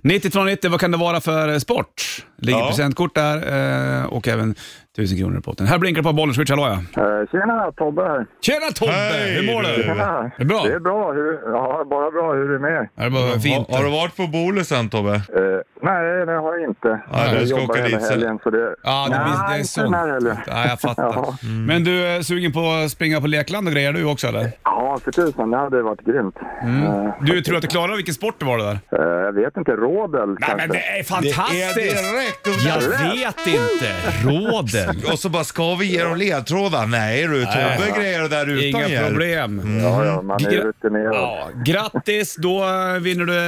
B: 9290, vad kan det vara för eh, sport? Ligger
C: Ja.
B: presentkort där eh, och även Tusen kronor i potten. Här blinkar det på bollen, switch, hallå ja.
G: Eh, Tjena, Tobbe här.
B: Tjena Tobbe!
C: Hej,
B: Hur mår du?
C: du.
B: Är det bra?
G: Det är bra. Hur, ja, bara bra. Hur är det med?
B: Ja, det var fint.
C: Har, har du varit på Bolusen Tobbe?
G: Eh, nej, det har jag inte.
C: Ja, du
G: jag
C: ska
G: jobbar
C: åka
G: hela
C: dit sen.
G: helgen. Så det,
B: Ja, det, blir, det är
G: inte
B: sånt.
G: den här heller.
B: Ja, jag fattar. Mm.
G: Ja.
B: Men du, är sugen på att springa på lekland och grejer du också eller?
G: Ja, för tusan. Det hade varit grymt.
B: Mm.
G: Eh,
B: Du, tror att du klarar vilken sport det var det där?
G: eh, jag vet inte. Rodel
B: Nej, men
G: kanske?
B: det är
C: Det
B: fantastiskt!
C: är direkt
B: Jag
C: under.
B: vet inte. Råden.
C: Och så bara, ska vi ge dem ledtrådar? Nej du, Tobbe grejer det där utan
B: Inga
C: hjälp.
B: problem.
G: Ja, ja, man är
B: Gra-
G: rutinerad.
B: Mm. Ja, grattis! Då eh, vinner du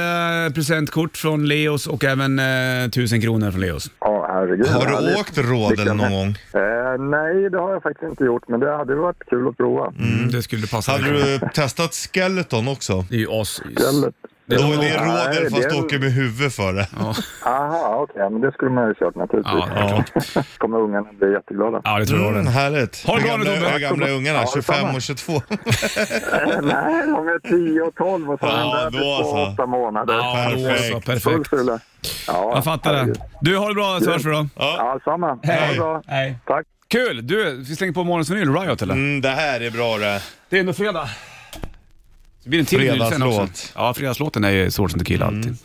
B: eh, presentkort från Leos och även eh, 1000 kronor från Leos.
G: Ja, herregud.
C: Har du
G: Härligt.
C: åkt Rodel
G: Vilken-
C: någon gång?
G: Eh, nej, det har jag faktiskt inte gjort, men det hade varit kul att prova.
B: Mm. Det skulle passa.
C: Hade
B: dig.
C: du testat Skeleton också?
B: Det är ju as.
G: Istället.
C: Då är det
G: Nej,
C: Rodel fast
G: det
C: du
G: är-
C: åker med huvudet för det.
G: Aha, okej. Men det skulle man ju kört naturligtvis.
B: Ja,
G: kommer ungarna bli jätteglada.
B: Ja, det tror jag
C: Mm,
B: det.
C: härligt.
B: Ha det
C: Hur
B: bra nu,
C: gamla-
B: Tobbe.
C: Hur gamla är ungarna?
G: Ja,
C: 25
G: detsamma.
C: och 22?
G: Nej, de är 10 och 12 och så
C: Ja,
G: är de där
C: då
G: till två
C: så.
G: och åtta månader.
B: alltså. Ja, då så.
C: Perfekt.
B: Perfekt.
G: Full fulle. Ja,
B: Jag fattar det.
G: herregud.
B: Du, har det bra så hörs vi då.
C: Ja.
G: Ja, samma. Ha det bra.
B: Hej.
G: Tack.
B: Kul! Du, vi slänger på morgonens vinyl, Riot eller?
C: Mm, det här är bra det.
B: Det är ändå fredag. Det blir en till vinyl sen också.
C: Fredagslåt. Mm.
B: Ja, fredagslåten är ju Swords and Tequila alltid.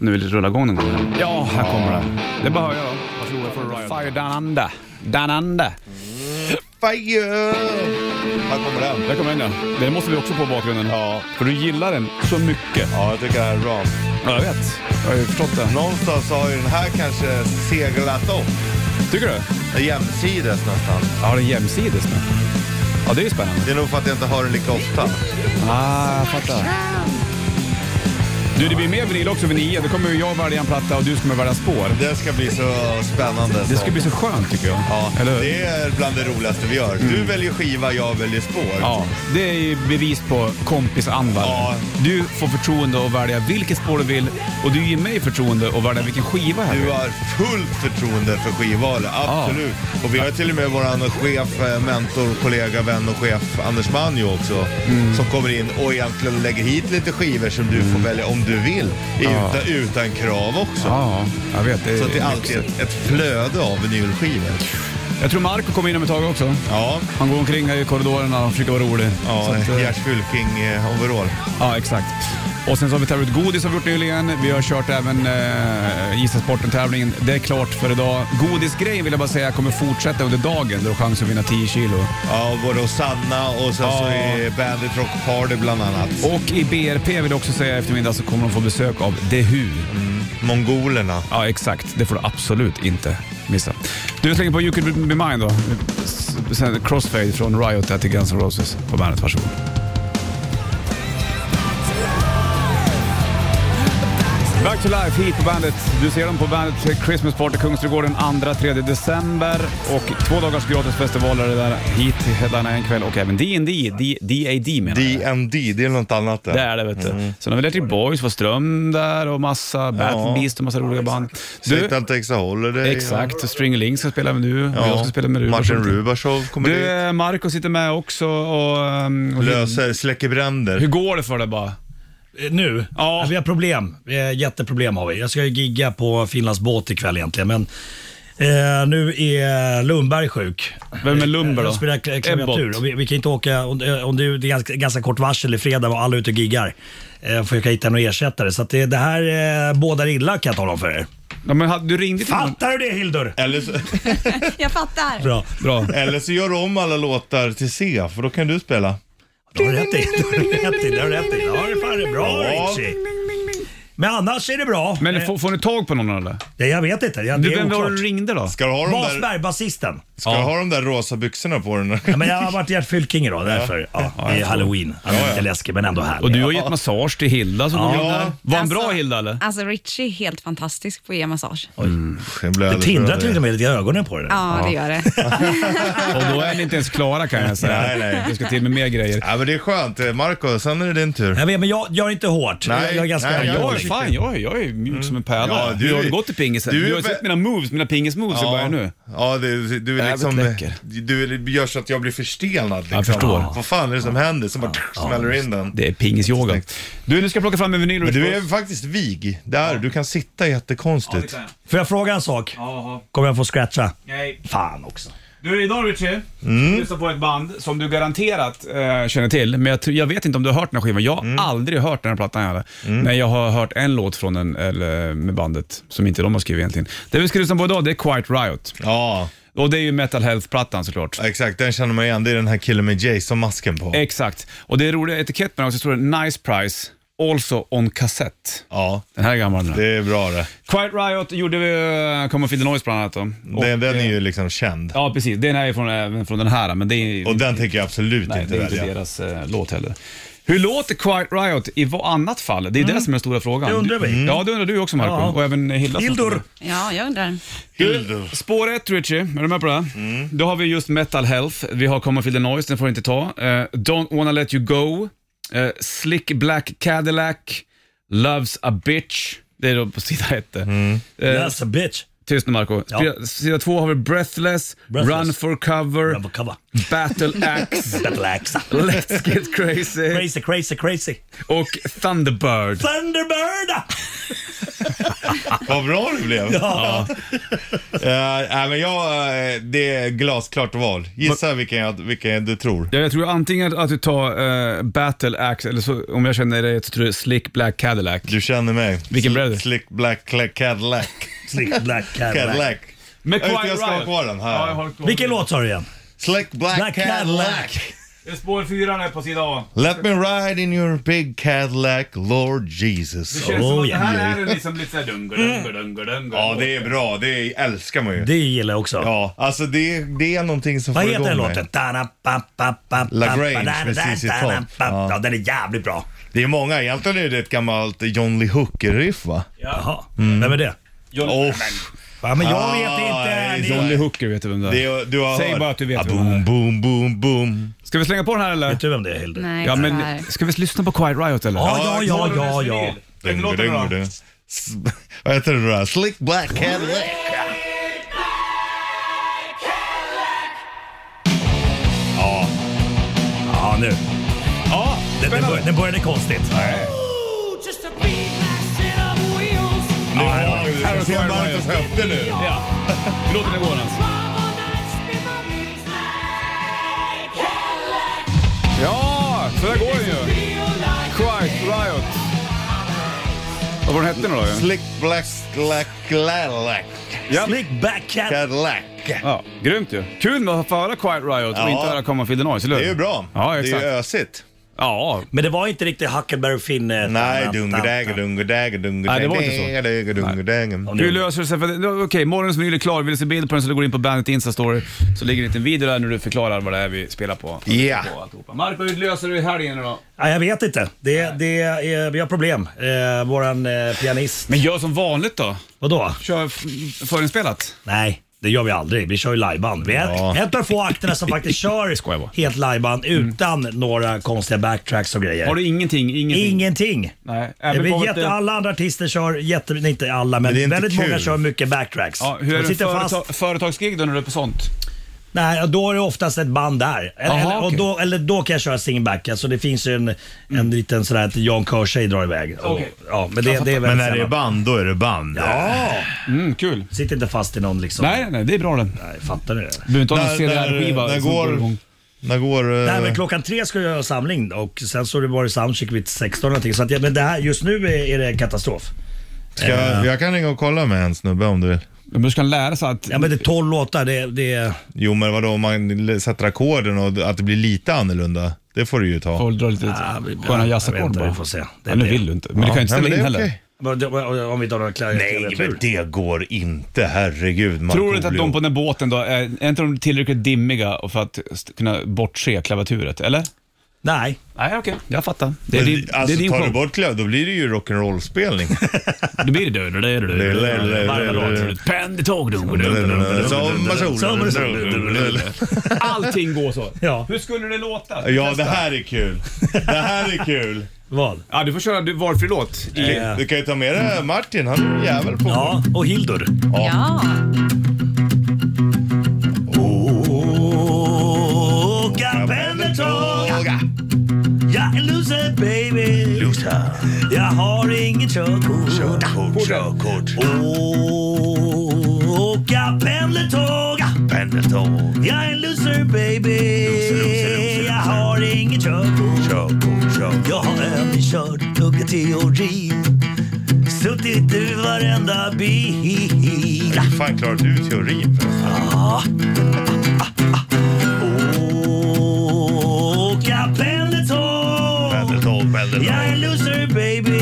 B: Om du vill rulla igång någon gång. Ja, här kommer den. Det behöver jag då. Varsågoda för Riot. Fire down under. Down under.
C: Fire! Här kommer den.
B: Där kommer den ja. Den måste vi också på bakgrunden.
C: Ja.
B: För du gillar den så mycket.
C: Ja, jag tycker det här är bra.
B: Ja, jag vet. Jag har ju förstått det.
C: Någonstans har ju den här kanske seglat upp.
B: Tycker du?
C: Jämsides nästan.
B: Ja, den är jämsides nu. Ja, det är ju spännande.
C: Det är nog för att jag inte hör den lika ofta.
B: Ah, jag fattar. Du, det blir mer vinyl också vid nio. Då kommer ju jag välja en platta och du kommer välja spår.
C: Det ska bli så spännande.
B: Det
C: så.
B: ska bli så skönt tycker jag.
C: Ja,
B: Eller hur? Mm.
C: det är bland det roligaste vi gör. Du väljer skiva, jag väljer spår.
B: Ja, det är ju bevis på kompisanda.
C: Ja.
B: Du får förtroende att välja vilket spår du vill och du ger mig förtroende att välja vilken skiva jag
C: Du
B: vill.
C: har fullt förtroende för skivvalet, absolut. Och vi har till och med våran chef, eh, mentor, kollega, vän och chef Anders Manjo också.
B: Mm.
C: Som kommer in och egentligen lägger hit lite skivor som du får välja om du vill. Utan, utan krav också.
B: Ja, jag vet. Det är
C: Så att det är alltid
B: lyxigt.
C: ett, ett flöde av vinylskivor.
B: Jag tror Marco kommer in om ett tag också.
C: Ja,
B: Han går omkring här i korridorerna och försöker vara rolig. Så
C: ja
B: att, eh,
C: Gert Fylking-overall.
B: ja, exakt. Och sen så har vi tävlat ut godis har vi gjort nyligen. Vi har kört även eh, Gissa-sporten-tävlingen. Det är klart för idag. Godisgrejen vill jag bara säga kommer fortsätta under dagen. Du har chans att vinna 10 kilo.
C: Ja, både hos Sanna och sen så
B: Ja.
C: är Bandit Rock Party bland annat.
B: Och i BRP vill jag också säga i eftermiddag så kommer de få besök av The Who.
C: Mongolerna.
B: Ja, exakt. Det får du absolut inte missa. Du slänger på You Could Be Mine då. S- Sen Crossfade från Riot här till Guns N' Roses på bandet. Varsågod. Back to life hit på bandet. Du ser dem på bandet Christmas Party Kungsträdgården 2-3 december. Och två dagars gratis festival är det där. Hit headlinar en kväll och även D&D, D- Mm. DAD menar jag.
C: DMD, det är något annat det.
B: Det är det vet du. Sen har vi Electric Boys, var Ström där och massa Battle Beast och massa roliga band. Du,
C: Satan Texas Holiday.
B: Exakt, och String Link ska spela med nu.
C: Ja.
B: och Jag ska spela med Rubars.
C: Martin Rubashov kommer
B: Du,
C: dit.
B: eh, Marco sitter med också och... ehm, och
C: Löser, släcker
B: Hur, hur
C: bränder.
B: går det för dig bara?
F: Eh, Nu?
B: Ja.
F: Vi har problem. Eh, Jätteproblem har vi. Jag ska ju gigga på Finlands båt ikväll egentligen, men eh, nu är Lundberg sjuk.
B: Vem är Lundberg då?
F: Jag spelar kl- klaviatur.
B: Ebbot.
F: Och vi, vi kan inte åka, om, om det är det är ganska, ganska kort varsel i fredag och alla är ute och giggar. Eh, försöka hitta någon ersättare. Så att det, det här eh, bådar illa kan jag tala om för er.
B: Ja, men, ha- du ringde till någon.
F: Fattar du det Hildur?
C: Eller så,
K: Jag fattar.
F: Bra.
B: Bra.
C: eller så gör du om alla låtar till C, för då kan du spela.
F: Det har du rätt i. Det har du rätt i. Det har du rätt i. Ja, det är fan det är bra
C: Ja.
F: Richie. Men annars är det bra.
B: Men
F: Eh,
B: får, får ni tag på någon eller?
F: det, jag vet inte. Jag, det
B: Du,
F: är
B: vem var det
F: oklart.
B: du ringde då?
C: Ska du ha de där,
F: Basberg, basisten.
C: ska du ha de där rosa byxorna på dig nu?
F: Ja, men jag har varit Gert Fylking idag, därför. Ja, det är halloween. Han är lite läskig men ändå härlig.
B: Och du har gett massage till Hilda som går in där. Var han bra
K: Alltså-
B: Hilda eller?
K: Alltså Richie är helt fantastisk på att ge massage. Ja,
C: Jag blir
F: Det
C: alldeles
F: tindrar
C: röd.
F: till och med lite i ögonen på dig.
K: det gör det.
B: Och då är ni inte ens klara kan jag säga.
C: Nej, nej.
B: Det ska till med mer grejer.
C: Ja, men det är skönt. Eh, Marco, sen är det din tur.
F: Jag vet, men jag gör inte hårt.
C: Nej,
F: jag, jag är ganska
C: nej, jag
B: Jag är
C: håller
B: fan, jag, är- jag är mjuk som en pärla.
C: Ja, du
B: du, har
C: är-
B: du gått i pingisen?
C: du
B: Du,
C: är
B: har ju
C: vä-
B: sett mina moves, mina pingismoves i början nu.
C: Ja, du, du är
B: Jävligt
C: liksom...
B: läcker.
C: Du gör så att jag blir förstelnad liksom.
B: Jag förstår.
C: Vad fan är det som händer? Som bara smäller in den.
B: Det är pingisyoga. Du, nu ska jag plocka fram en vinyl.
C: Men du är faktiskt vig. Där, du kan sitta jättekonstigt.
F: Får jag fråga en sak?
B: Jaha.
F: Kommer jag få scratcha?
B: Nej.
F: Fan också.
B: Du, idag Richie,
F: Mm.
B: lyssnar på ett band som du garanterat eh, känner till, men jag, tror- jag vet inte om du har hört den här skivan. Jag har
C: Mm.
B: aldrig hört den här plattan heller. Men jag har hört en låt från den, eller, med bandet, som inte de har skrivit egentligen. Det vi ska lyssna på idag, det är Quiet Riot.
C: Ja.
B: Och det är ju Metal Health-plattan såklart.
C: Exakt, den känner man igen. Det är den här killen med Jason-masken på.
B: Exakt. Och det är roliga etiketten också, så står det Nice Price, also on cassette.
C: Ja.
B: Den här är gammal den här.
C: Det är bra det.
B: Quiet Riot gjorde vi eh, Come and Feed the Noise bland annat. Då. Och,
C: Den, den är
B: eh,
C: ju liksom känd.
B: Ja, precis. Den här är från, även från den här, men det är
C: Och den tänker jag absolut
B: Nej,
C: inte
B: det är
C: välja.
B: inte deras eh, låt heller. Hur låter Quiet Riot i vad annat fall? Det är det som är den stora frågan.
F: Mm. Det undrar vi.
B: Du- Ja, det undrar du också Marco
F: Ja.
B: och även Hilda. som
F: Hildur.
B: står där.
K: Ja, jag undrar.
C: Du,
B: spår ett Richie, är du med på det? Mm. Då har vi just Metal Health, vi har Come and Feel the Noise, den får du inte ta. Eh, Don't Wanna Let You Go, eh, Slick Black Cadillac, Loves A Bitch. Det är då på sida ett. det. Eh,
F: That's a bitch.
B: Tyst nu Marco.
F: Ja.
B: Sida, sida två har vi Breathless,
F: Breathless.
B: Run for cover,
F: Rubber cover.
B: Battle Axe,
F: Battle axe.
B: Let's Get Crazy
F: Crazy, crazy, crazy.
B: och Thunderbird.
F: Thunderbird!
C: Vad bra du blev.
F: Ja.
C: Eh, nej, men jag, eh, det är glasklart val. Gissa vilken, jag, vilken du tror.
B: Ja, jag tror antingen att du tar eh, Battle Axe, eller så, om jag känner dig så tror jag Slick Black Cadillac.
C: Du känner mig.
B: Vilken
C: Sl-
B: blev det?
C: Slick Black Cla- Cadillac.
F: Slick Black Cadillac.
C: Cadillac. Jag vet inte, jag ska ha kvar den här.
F: Vilken låt sa du igen?
C: Slick Black,
F: Black
C: Cadillac.
F: Cadillac.
B: Spår fyran är på sida A.
C: Let me ride in your big Cadillac, Lord Jesus.
F: känns som att det här
B: är liksom lite såhär dunga-dunga-dunga-dunga.
C: Oh, Ja, det är bra. Det älskar man ju.
F: Det gillar jag också.
C: Ja, alltså det, det är någonting som
F: Vad
C: får
F: heter
C: igång
F: den
C: mig.
F: låten? Tana, pa, pa, pa,
C: Lagrange
F: pa, da, da,
C: precis i
F: da,
C: topp.
F: da, pa.
C: Ja.
F: Ja, den är jävligt bra.
C: Det är många. Egentligen är det ett gammalt John Lee Hooker-riff va?
F: Jaha, vem är det?
C: Åh,
F: Ja, men jag
C: Ah,
F: vet
C: Mm. det är
F: inte.
B: Johnny
F: Ni...
B: Hooker vet du vem det
C: det
B: är.
C: är, du har
B: Säg
C: hört.
B: bara att du vet
C: ah,
B: vem det är.
C: boom, boom, boom, boom.
B: Ska vi slänga på den här eller?
F: Vet du vem det är Hildur?
K: Nej,
B: Ja,
K: tyvärr.
B: men ska vi lyssna på Quiet Riot eller?
F: Ja, ja, ja, ja. ja.
C: Ding, ding, ding. S- Vad heter den då? Slick Black Cadillac.
F: Ja, nu.
B: Ja,
F: Den, den, började, den började konstigt.
C: Nu har vi
B: här har
C: det. Se
B: Quiet
C: Marcus
B: Riot.
C: höfter nu.
B: Ja. Vi låter den gå Jonas. Ja, så där går den ju. Quiet Riot. Vad var den hette nu då? ju?
C: Slick Black Cadillac, Cadillac.
B: Ja.
F: Slick back cat.
C: Cadillac.
B: Ja, grymt ju. Kul med att få höra Quiet Riot
C: Ja.
B: och inte höra Come and Feel the Noise, eller
C: Det
B: hur?
C: är ju bra.
B: Ja,
C: det är
B: exakt.
C: ju ösigt.
B: Ja,
F: Men det var inte riktigt Huckleberry Finn. eh,
C: Nej,
F: tana,
C: dungu-dägu,
F: tana.
C: dungu-dägu, dungu
B: Nej, det var inte så.
C: så.
B: Hur löser det sig? För, det- okej, morgonens meny är klar. Vill du se bild på den så går du in på Bandet Insta-story. Så ligger det en liten video där när du förklarar vad det är vi spelar på.
C: Ja.
B: på alltihopa. Marco, hur löser du helgen nu då?
F: Ja, jag vet inte. Det, det är, vi har problem. Eh, våran eh, pianist.
B: Men gör som vanligt då.
F: Vadå?
B: Kör f- förinspelat.
F: Nej, det gör vi aldrig. Vi kör ju liveband. Vi är
C: Ja.
F: ett av få akterna som faktiskt
B: Skojar bara. Mm.
F: kör helt liveband utan några konstiga backtracks och grejer.
B: Har du ingenting? Ingenting?
F: Ingenting.
B: Nej, Äh, även
F: Vi
B: på
F: jätte,
B: ett-
F: alla andra artister kör, jätte, nej, inte alla, men,
C: det är inte
F: väldigt många
C: kul.
F: kör mycket backtracks.
B: Ja, hur är
F: De
B: det
F: sitter fast.
B: företa- företagsgig då när du är på sånt?
F: Nej, och då är det oftast ett band där. Eller,
B: Aha,
F: eller, och
B: okej. Mm.
F: då, eller då kan jag köra singback. Alltså det finns ju en, en liten sån här att Jan Körshej drar iväg. Och,
B: Okej.
F: ja, men det, det är
C: Men
F: väldigt
C: när det är
F: sällan.
C: band, då är det band.
F: Ja,
B: Mm, kul.
F: sitt inte fast i någon liksom.
B: Nej, nej, det är bra den. Du
F: Nej, fattar du det?
B: behöver inte ha någon
C: När- när-
B: CDR-skiva.
C: när
B: som
C: går-
B: igång.
C: När går... eh,
F: Nej, men klockan tre ska jag göra samling och sen så har det varit soundcheck vid 16 någonting. Så att, jag- men det här, just nu är, är det katastrof.
C: Ska jag, jag kan ringa och kolla med en snubbe om du vill.
B: Men du ska lära sig att...
F: Ja, men det är 12 låtar. Det, det,
C: Jo men vadå om man l- sätter ackorden och att det blir lite annorlunda. Det får du ju ta.
B: Får dra lite sköna jazzackord
F: bara.
B: bara.
F: Vi får se. Det
B: Ja,
F: är
B: nu
F: det.
B: vill du inte. Men du kan ju inte
C: Nej, men
B: ställa
C: det
B: in heller.
C: är okej.
F: Men det- Om vi inte har några klarar
C: Nej men det går inte, herregud. Markoolio.
B: Tror du inte att de på den här båten då, är, är inte de tillräckligt dimmiga för att st- kunna bortse klaviaturet, eller?
F: Nej.
B: Nej, okej. Jag fattar. Det är,
C: Men,
B: din,
C: alltså
B: det är din
C: tar du
B: show.
C: bort klöv, då blir det ju rock'n'roll-spelning.
B: Då blir det du, du,
C: Det är- det är- det är-
B: Varva låt. Pendeltåg. du, du, du, du, du.
C: Sommarsol.
B: Allting går så.
F: Ja.
B: Hur skulle det låta?
C: Ja det här är kul. Det här är kul.
F: Vad?
B: Ja, du får köra du, valfri låt.
C: Du kan ju ta med dig Martin, han är en jävel på
F: Eh, Ja, och Hildur.
K: Ja.
F: Åka pendeltåg Jag är loser baby Loser Jag har inget körkort Körkort, körkort Åka pendeltåg Pendeltåg Jag är en loser baby Jag har inget körkort Körkort, körkort Jag har övningskört, tuggat teori Suttit i varenda bil Hur
C: fan klarar du teorin
F: Ja åka pendeltåg.
C: Pendeltåg, pendeltåg.
F: Jag är loser baby.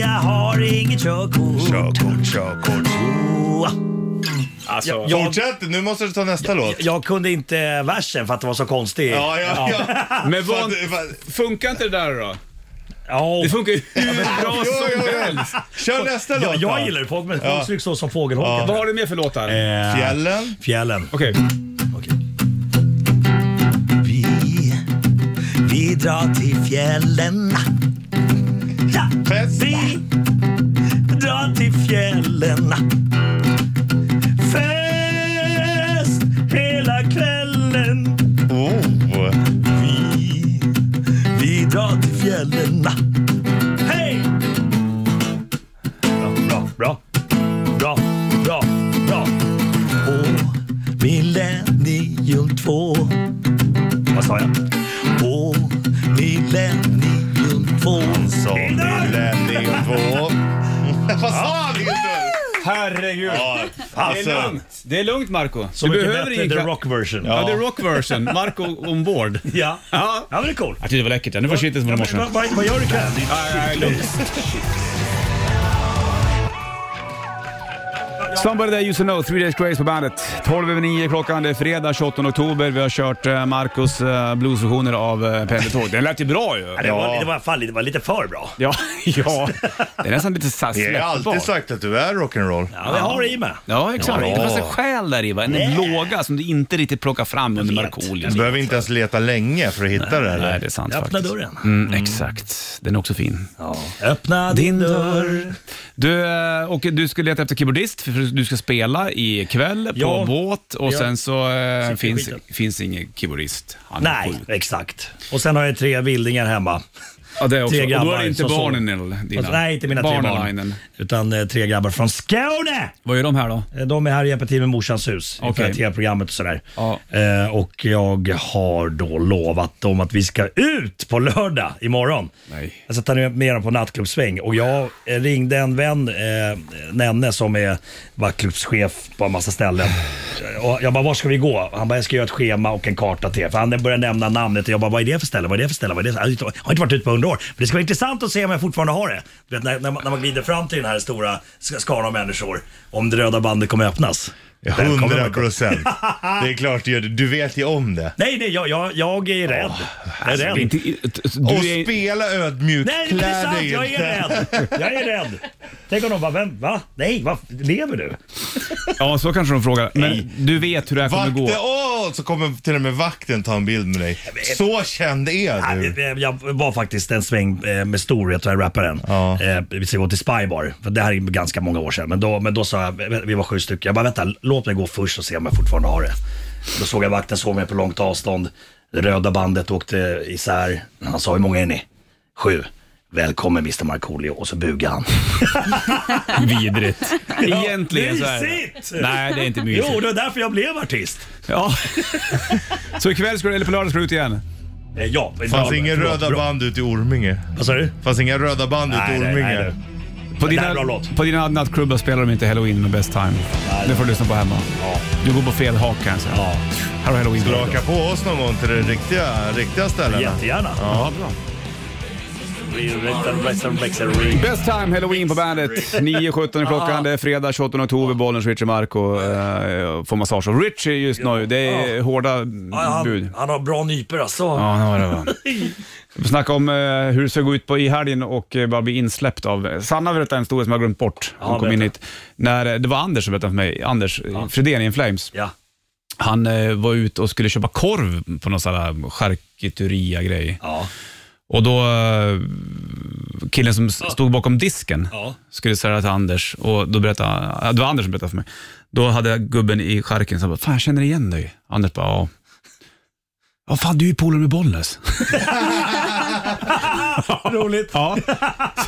F: Jag har inget körkort.
C: Körkort, körkort.
B: Alltså,
F: jag,
C: jag, Fortsätt, nu måste du ta nästa låt.
F: jag kunde inte versen för att det var så konstig.
C: Ja, ja, ja.
B: Men vad, funkar inte det där då?
F: Ja.
B: Det funkar ju hur bra
F: Jo,
B: som
F: jo, jo.
B: helst.
C: Kör nästa
F: Ja, jag gillar ju folk med
B: Ja.
F: folkstryck så som fågelholkar.
B: Vad har du mer för låtar?
F: Eh,
C: Fjällen.
F: Fjällen.
B: Okej.
F: Vi drar till fjällen. Ja, vi drar till fjällen. Fest hela kvällen.
C: Oh.
F: Vi, vi drar till fjällen. Hej! Bra, bra, bra, bra, bra. På Millennium 2. Vad sa jag? På Millennium 2. Han
C: sa
F: Millennium
C: 2. Vad sa han?
B: Herregud.
C: Ja,
B: Det är
C: alltså.
B: lugnt. Det är lugnt Marco.
F: Så mycket bättre än the rock version.
B: Ja,
F: Ja.
B: the rock version. Marco ombord.
F: Ja.
B: Ja. Mm.
F: ja, men det är coolt.
B: Jag tyckte det var läckert. ja. Nu får kittet som i morse.
F: Vad, vad, vad gör du ikväll?
B: Somebody there you should know, Three Days Grace på bandet. 12 över 9 klockan, det är fredag 28 oktober. Vi har kört eh, Marcos eh, bluesversioner av eh, Pendeltåg. Den lät ju bra ju.
F: Ja, det, var, det, var, fan, det var lite för bra.
B: Ja, ja. det är nästan lite så här
C: Vi har alltid
B: släppbart.
C: sagt att du är rock'n'roll.
F: Ja, det har det i mig.
B: Ja, exakt.
C: Ja.
B: Det fanns en själ där i, va? en
F: Nej.
B: låga som du inte riktigt plockar fram under Markoolio.
C: Du behöver inte ens leta länge för att hitta det. Eller?
B: Nej, det är sant
F: Öppna
B: faktiskt.
F: dörren.
B: Mm, exakt. Den är också fin.
F: Öppna din dörr.
B: Du, eh, och du ska leta efter keyboardist, för du ska spela ikväll
F: Ja.
B: på båt och
F: Ja.
B: sen så eh,
F: Sitter i
B: finns,
F: skiten.
B: finns ingen keyboardist. Han är
F: Nej,
B: sjuk.
F: exakt. Och sen har jag tre vildingar hemma.
B: Ja, det är också.
F: Tre
B: Och då är
F: grabbar
B: det inte
F: som sover. Alltså,
B: barnen eller dina?
F: Nej, inte mina tre barn.
B: Barnen.
F: Utan eh, tre grabbar från Skåne.
B: Vad gör de här då?
F: Eh, De är här och hjälper till med morsans hus inför
B: Okej.
F: TV-programmet och sådär. Eh, och jag har då lovat dem att vi ska ut på lördag imorgon.
B: Nej.
F: Jag ska ta med dem på nattklubbsväng och jag eh, ringde en vän, eh, Nenne, som är vaktklubbschef på en massa ställen. Och jag bara, var ska vi gå? Han bara, jag ska göra ett schema och en karta till er. För han började nämna namnet och jag bara, vad är det för ställe? Vad är det för ställe? Vad är det? för- Jag har inte- jag har inte varit ute på hundra år. Men det ska vara intressant att se om jag fortfarande har det. Du vet, när, när, man, när man glider fram till den här stora sk- skaran av människor, om det röda bandet kommer öppnas. Den kommer
C: Hundra
F: öppnas.
C: procent. Det är klart du gör det. Du vet ju om det.
F: Nej, nej, jag, jag, jag är rädd. jag
B: alltså,
F: är rädd.
C: Och
B: Du är...
C: spela ödmjukt.
F: Nej, det
C: Klä
F: är sant.
C: dig
F: Jag är
C: inte.
F: rädd. Jag är rädd. Tänk om de bara, vem, va? Nej, va? lever du?
B: Ja, så kanske de frågar. Men du vet hur det här kommer
C: Vakten,
B: gå.
C: åh! Så kommer till och med vakten ta en bild med dig. Så känd är du.
F: Nej, eh, Jag var faktiskt en sväng eh, med storhet och rapparen.
C: Ja.
F: Eh, Vi ska gå till Spybar, för det här är ganska många år sedan. Men då, men då sa jag, vi var sju stycken, jag bara vänta, låt mig gå först och se om jag fortfarande har det. Då såg jag vakten, såg mig på långt avstånd. Det röda bandet åkte isär. Han sa, hur många är ni? Sju. Välkommen Mr Markoolio och så bugade han.
B: Vidrigt. Egentligen så är
F: Mysigt!
B: det. Nej, det är inte mysigt.
F: Jo, det var därför jag blev artist.
B: Ja. Så ikväll, ska du, eller på lördag, ska du ut igen?
F: Eh, Ja,
C: Fanns
F: ja,
C: inga
F: förlåt,
C: röda
F: bra.
C: band ute i Orminge.
F: Vad sa du?
C: Fanns inga röda band ute i
F: Nej, nej, nej,
C: Orminge.
F: nej.
B: På
F: Det här
B: dina,
F: är bra låt.
B: på dina nattklubbar spelar de inte Halloween med Best Time. Det får du lyssna på hemma.
F: Ja.
B: Du går på fel hak kan jag säga.
F: Ja.
B: Här har Halloween.
C: Raka på oss någon gång till de riktiga, riktiga ställena.
F: Jättegärna.
B: Ja, bra. Best time Halloween på bandet. 9.17 i
F: Ah.
B: klockan. Det är fredag 28 oktober. Bollnäs, Richie Marco eh, får massage av Richie just nu. Det är hårda
F: Ja,
B: bud.
F: han, han har bra nypor alltså.
B: Ja, det var det va. Vi snackade om eh, hur det ska gå ut på i helgen och eh, bara bli insläppt av... Sanna berättade en historia som jag glömt bort. Hon
F: Ja,
B: kom in hit.
F: berätta.
B: När, eh, det var Anders som berättade för mig. Anders ja. Fredén i In Flames.
F: Ja.
B: Han eh, var ute och skulle köpa korv på någon sån här charkuteria-grej.
F: Ja.
B: Och då, eh, killen som s- stod bakom disken
F: Ja.
B: skulle säga till Anders, och då berättade, ja, det var Anders som berättade för mig. Då hade jag gubben i charken som bara, fan jag känner igen dig. Anders bara, ja. Ja, fan du är ju polare med Bollnäs.
F: Roligt.
B: Ja,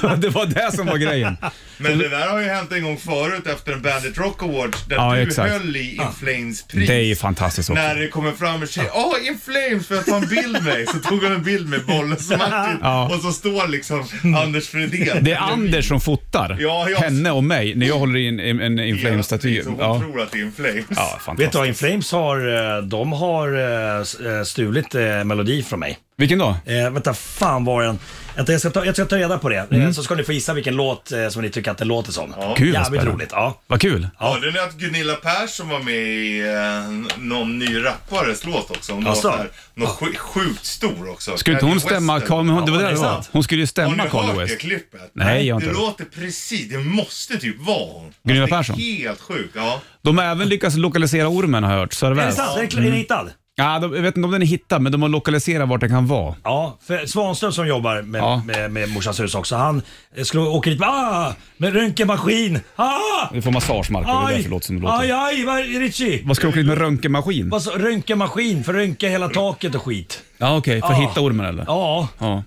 B: så det var det som var grejen.
C: Men det där har ju hänt en gång förut efter en Bandit Rock Awards där
B: Ja,
C: du
B: exakt.
C: höll i In Flames pris.
B: Det är ju fantastiskt också.
C: När det kommer fram en tjej, åh In Flames får jag ta en bild med dig? Så tog hon en bild med Bollens Martin
B: Ja. Mm.
C: och så står liksom Anders Fredén.
B: Det är Anders som fotar
C: Ja, ja.
B: henne och mig när jag håller i en, en, en inflamestaty.
C: Så hon
B: Ja.
C: tror att det är In Flames.
F: Vet du vad, In Flames har, eh, de har eh, s- eh, stulit eh, melodi från mig.
B: Vilken då?
F: Eh, vänta, fan var den? Vänta, jag, ska ta, jag ska ta reda på det,
B: Mm.
F: eh, så ska ni få gissa vilken låt eh, som ni tycker att det låter som. Ja.
B: Gud, vad
F: Jävligt
B: spännande.
F: roligt. Ja.
B: Vad kul.
C: Hörde ni att Gunilla Persson var med i eh, någon ny rappares låt också? Hon
B: Alltså?
C: var så här, någon sj- sjukt stor också.
B: Skulle inte hon
C: Kanye
B: stämma
C: West eller-
B: Carl, men hon, det var
C: Ja,
B: det det var.
C: sant.
B: Hon skulle ju
C: Har ni
B: stämma Carl
C: hört det
B: West.
C: klippet?
B: Nej, jag har
C: Det
B: inte hört.
C: låter precis, det måste typ vara hon.
B: Gunilla
C: Alltså, det är
B: Persson?
C: Helt sjukt, ja.
B: De har även lyckats lokalisera ormen har jag hört. Är
F: Är det sant? Är den- är den hittad?
B: Ja, de, jag vet inte om den är hittad, men de har lokaliserat vart den kan vara.
F: Ja, för Svanström som jobbar med, med, med Morsans hus också, han eh, skulle åka dit ah, med röntgenmaskin. Ah!
B: Du får massage Marco, det är därför det låter som det låter.
F: aj, aj, vad, Richie!
B: Vad ska du åka dit med röntgenmaskin?
F: Vad sa- Röntgenmaskin för att röntga hela taket och skit.
B: Ja, okej. för
F: Ja.
B: att hitta ormen eller?
F: Ja.
B: Ja.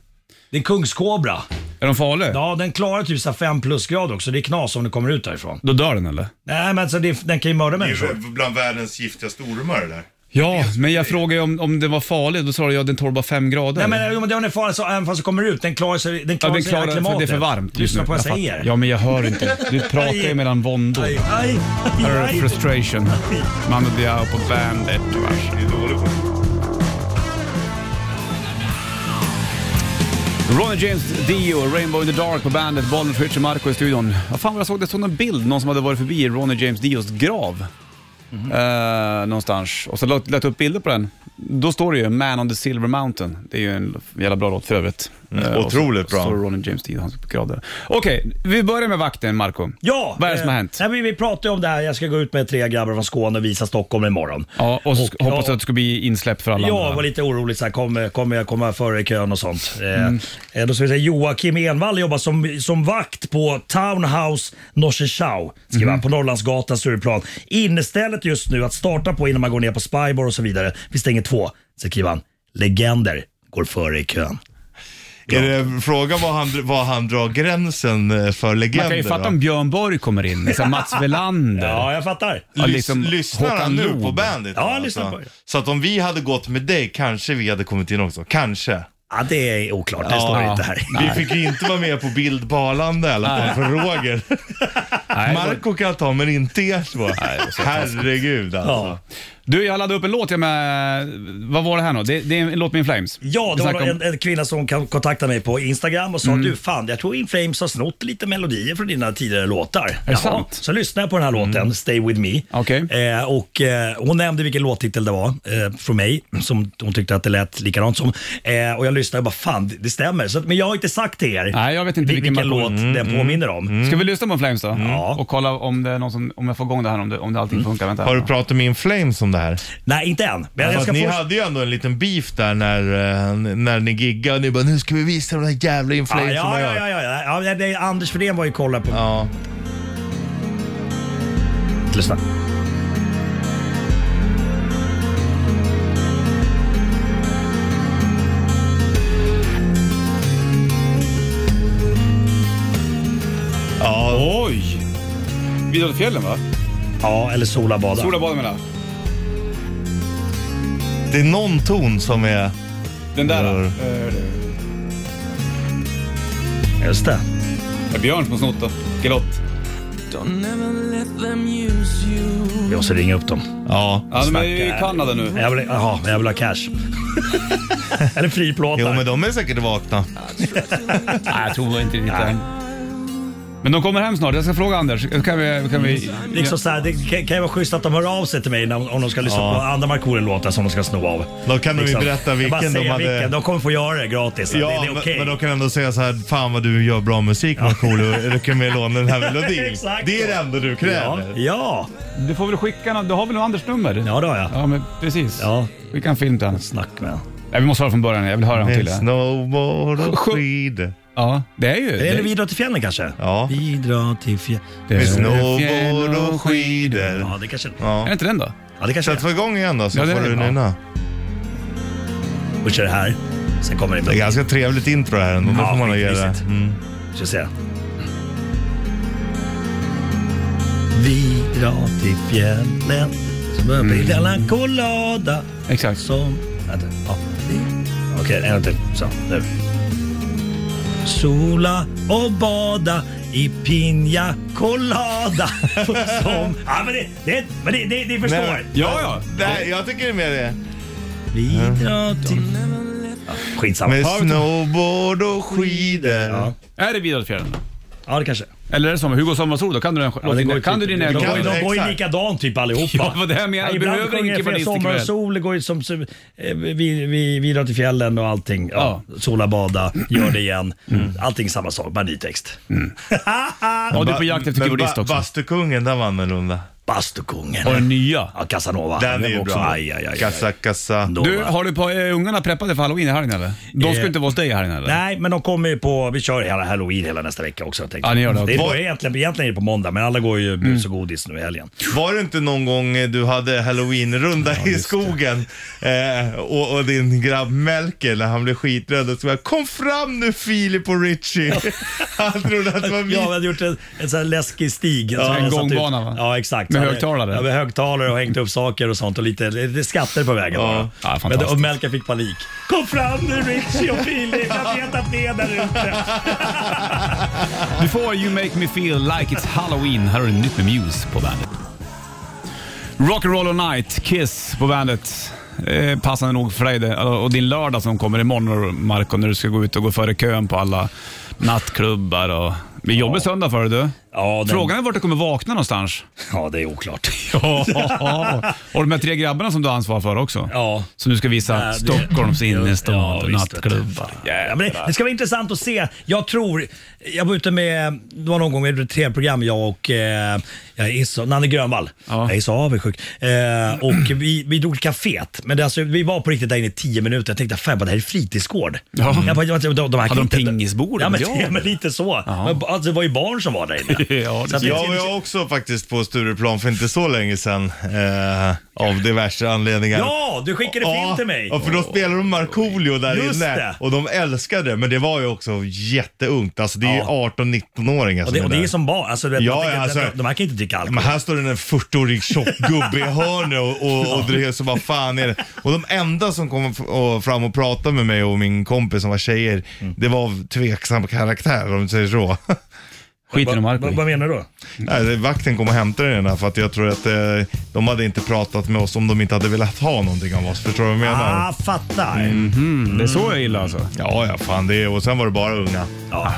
F: Det är kungskobra.
B: Är de farliga?
F: Ja, den klarar typ 5 plusgrad också. Det är knas om den kommer ut därifrån.
B: Då dör den eller?
F: Nej, men alltså, det, den kan ju mörda
C: Det är ju
F: människor.
C: bland världens giftigaste ormar det där.
B: Ja, men jag frågade ju om, om det var farligt. Då sa du ja, den tål bara fem grader.
F: Nej men om det är farligt så även fast det kommer ut, den klarar sig, den
B: Ja,
F: klarar
B: den
F: sig i
B: klarar
F: hela
B: för
F: klimatet.
B: det är för varmt just
F: Lyssna
B: nu.
F: på vad jag
B: fattar.
F: säger.
B: Ja, men jag hör inte. Du pratar ju mellan våndor.
F: Aj, aj, aj,
B: Her
F: aj.
B: frustration. Mando Diao på bandet. Ronny James Dio, Rainbow in the Dark på bandet, Bollnäs, Richard Marco i studion. Vad fan var jag såg det? Jag såg någon bild, någon som hade varit förbi Ronny James Dios grav.
C: Mhm.
B: Eh, någonstans. Och så lät, lät upp bilder på den. Då står det ju Man on the Silver Mountain. Det är ju en jävla bra låt för övrigt.
C: Mm,
B: Eh, och så-
C: otroligt bra.
B: Så står Ronny James Dio, hans grav där. Okej, vi börjar med vakten, Marco.
F: Ja,
B: Vad är det som
F: eh,
B: har hänt?
F: Nej, vi, vi pratade ju om det här, jag ska gå ut med tre grabbar från Skåne och visa Stockholm imorgon.
B: Ja, och, så
F: och-
B: hoppas att det ska bli insläpp för alla
F: Ja,
B: andra.
F: jag var lite orolig. Så här, kommer, kommer jag komma före i kön och sånt?
B: Mm.
F: Eh, eh, då ska vi säga, Joakim Envall jobbar som, som vakt på Townhouse Norsechau, skriver han,
B: Mhm.
F: på Norrlandsgatan, Stureplan. Innestället just nu att starta på innan man går ner på Spybar och så vidare. Vi stänger två. Så skriver han, legender går före i kön.
C: Är det frågan var han, var han drar gränsen eh, för legender?
B: Man kan ju fatta om Björn Borg kommer in, så här Mats Welander.
F: Ja, jag fattar.
B: Ja,
C: Lys-
B: liksom
C: lyssnar
B: Håkan
C: han nu
B: Loob.
C: på Bandit?
F: Ja, han lyssnar på det.
C: Så att om vi hade gått med dig kanske vi hade kommit in också. Kanske.
F: Ja, det är oklart. Det
C: Ja.
F: står inte här.
C: Vi fick ju inte vara med på bild på Arlanda i alla fall för Roger. Marco kan ta men inte er två. Herregud alltså.
B: Du, jag laddade upp en låt jag med... Vad var det här nu? Det, det är en låt med In Flames.
F: Ja, det
B: Vi
F: var
B: snackade om- Mm.
F: en, en kvinna som kan- kontaktade mig på Instagram och sa du fan jag tror In Flames har snott lite melodier från dina tidigare låtar. Är
B: sant? Mm.
F: Så lyssnade jag på den här låten, Stay With Me. Eh, och, eh, hon nämnde vilken låttitel det var eh, från mig, som hon tyckte att det lät likadant som. Eh, och jag lyssnade och bara fan det- det stämmer. Så, att- men jag har inte sagt till er
B: Nej, jag vet inte
F: vil-
B: vilken,
F: vilken
B: version. Mm,
F: låt den påminner om.
B: Ska vi lyssna på In Flames då? Och kolla om, det är någon som, om jag får igång det här, om, det, om det allting funkar. Vänta.
C: Har du pratat med In Flames om det här?
F: Nej, inte än. Men jag
C: Fast
F: ska
C: ni
F: först-
C: hade ju ändå en liten beef där när, eh, när ni giggade. Ni bara, nu ska vi visa de här jävla In Flames som
F: ja,
C: har
F: ja,
C: gjort."
F: ja, ja, ja. ja det, Anders Fredén var ju och kollade på.
C: Ja.
F: Lyssna.
C: Ja.
B: Oj! Vidar till fjällen va?
F: Ja, eller Sola bada.
B: Sola bada menar jag.
C: Det är någon ton som är...
B: Den där.
C: Rör.
F: eh, Just det.
B: Det är eh, Björn som har snott då. Gelott.
F: Vi måste ringa upp dem.
C: Ja,
B: Ja, de är ju i Kanada nu.
F: Jag vill, jaha, men jag vill ha cash. Eller friplåtar.
C: Jo, men de är säkert vakna.
B: Nej, jag tror inte riktigt det. Men de kommer hem snart. Jag ska fråga Anders. Kan vi... Kan vi...
F: Liksom så här, det kan, kan ju vara schysst att de hör av sig till mig när, om de ska lyssna
B: Ja.
F: på andra Markoolio-låtar som de ska sno av. Liksom.
C: Då kan de ju berätta
F: Jag bara
C: vilken de
F: säger
C: hade-
F: Vilken. De kommer få göra det gratis.
C: Ja,
F: det, det är
C: men,
F: okej.
C: men de kan ändå säga så här, fan vad du gör bra musik Markoolio, du kan med låna den här melodin.
F: Exakt
C: det är det
F: så.
C: enda du kräver.
F: Ja. ja.
B: Du får väl skicka någon, Du har väl någon Anders nummer?
F: Ja, det har jag.
B: Ja, men precis.
F: Ja.
B: Skicka en film till honom.
F: Snack med honom.
B: Nej, vi måste höra från början. Jag vill höra en till.
C: Med snowboard och skidor.
B: Ja, det är ju...
F: Är det, det... Vi drar till fjällen kanske?
C: Ja.
F: Vi drar till fjällen.
C: Med snowboard och skidor.
F: Ja, det kanske
C: Ja.
B: Är det inte den då?
F: Ja, det kanske
C: Sätt igång igen då så
F: Ja, det är
C: får
F: det.
C: du
F: Ja.
C: nynna.
F: Och kör det här. Sen kommer det
C: Det är ganska trevligt intro här ändå.
F: Ja,
C: Ja, får man nog ge det.
F: skitmysigt.
C: Mm.
F: Ska se. Vi drar till fjällen som en
C: Mm.
F: mm. la colada.
B: Exakt.
F: Som... Vänta. Ja. vi- Okej, en till. Så, nu. Sola och bada i piña colada. som... Ja, men det, det, men det, det, det förstår.
C: Nej, Nej, jag tycker det är mer det.
F: Vi drar till... Skitsamma.
C: Med
F: Ja, vi tar-
C: snowboard och skidor. Ja.
B: Är det Vidar till fjärran?
F: Ja, det kanske.
B: Eller är det som Hugo Sommarsol då? Kan du den
F: Ja, det
B: låten?
F: går ju
B: Kan du din
F: typ- de
B: egen?
F: går ju- De går ju
B: Exakt.
F: likadant typ allihopa.
B: Ja, vad det jag menar. Du
F: ibland
B: behöver
F: sjunger
B: ingen
F: jag
B: fadist
F: Sommar och
B: ikväll.
F: sol, det går ju som, som eh, vi, vi, vi drar till fjällen och allting. Ja, Sola, bada, gör det igen. Allting samma sak, bara ny text.
B: Ja, du är på jakt efter
C: Men
B: keyboardist
C: ba-
B: också.
C: Bastukungen, den var annorlunda.
F: Bastukungen.
B: Och den nya.
F: Ja, Casanova.
C: Den är
F: Den
C: ju
F: var också-
C: bra.
F: Aj, aj, aj,
C: Kassa, kassa.
B: Du, har du på eh, ungarna preppade för halloween i helgen eller? De ska
F: Eh,
B: inte vara hos dig i helgen eller?
F: Nej, men de kommer ju på, vi kör hela halloween hela nästa vecka också. tänkte
B: Ja, ni gör det. Mm.
F: jag. det
B: Var-
F: är egentligen, egentligen är det på måndag, men alla går ju mus och godis nu i helgen.
C: Var det inte någon gång eh, du hade halloweenrunda i skogen eh, och, och din grabb Melker när han blev skiträdd och sa Kom fram nu Filip och Richie. han trodde att det var vi.
F: Ja, vi hade gjort en, en sån här läskig stig.
C: Ja,
F: Så
C: en
F: hade satt
B: gångbana,
F: ut-
B: va?
F: typ- Ja, exakt.
B: Med
F: Så hade-
B: högtalare.
F: Ja, med högtalare och hängt upp saker och sånt och lite, lite skatter på vägen. bara.
B: Ja,
F: Men,
B: fantastiskt.
F: och Melker fick panik. Kom fram nu Richie och Filip, jag vet att ni är där ute.
B: Before you make me feel like it's halloween. Här har du nytt med Muse på bandet. Rock'n'roll all night, Kiss på bandet. Eh, passande nog för dig det. Alltså, och din lördag som kommer imorgon Marco när du ska gå ut och gå före kön på alla nattklubbar och... Vi jobbar söndag för dig du.
F: Ja, den-
B: Frågan är vart du kommer vakna någonstans.
F: Ja, det är oklart.
B: Ja, och de här tre grabbarna som du har ansvar för också.
F: Ja.
B: Som du ska visa
F: Ja, det-
B: Stockholms innerstad,
F: Ja, visst, vet du.
B: nattklubbar.
F: Ja, men det, det ska vara intressant att se. Jag tror, jag var ute med, det var någon gång med ett tv-program jag och eh, jag är så, Nanne Grönvall. Jag är så avundsjuk. Eh, och vi, vi drog kaféet, men det, alltså, vi var på riktigt där inne i tio minuter. Jag tänkte, fan vad det här är fritidsgård.
B: Ja.
F: Jag bara, jag bara, de, de här
B: Hade de
F: kan inte-
B: pingisbord?
F: Ja men,
B: Ja.
F: ja, men lite så. Men, alltså, det var ju barn som var där inne.
B: ja,
F: Så att det-
C: Jag var ju också faktiskt på Stureplan för inte så länge sedan eh, av diverse anledningar.
F: Ja, du skickade film
C: Ja,
F: till mig.
C: Ja, för då spelade de Markoolio där
F: Just
C: inne
F: det.
C: och de älskade det. Men det var ju också jätteungt. Alltså det är ju 18-19-åringar
F: Och
C: som
F: det, och det
C: där.
F: är som barn, alltså, du vet,
C: Ja,
F: man tänker,
C: alltså-
F: de, de här kan inte dricka alkohol.
C: Men här står det en 40-årig tjock gubbe i hörnet och, och, och drev så vad fan är det? Och de enda som kom f- och fram och pratade med mig och min kompis som var tjejer,
F: Mm.
C: det var av tveksam karaktär om du säger så.
B: Skiten i Marco.
F: Vad, vad menar du då?
C: Nej, det- vakten kom och hämtade den här för att jag tror att eh, de hade inte pratat med oss om de inte hade velat ha någonting av oss. Förstår du vad jag menar?
F: Ah, fattar.
B: Det är så jag gillar alltså.
C: Ja, ja fan det är, och sen var det bara unga.
F: Ja.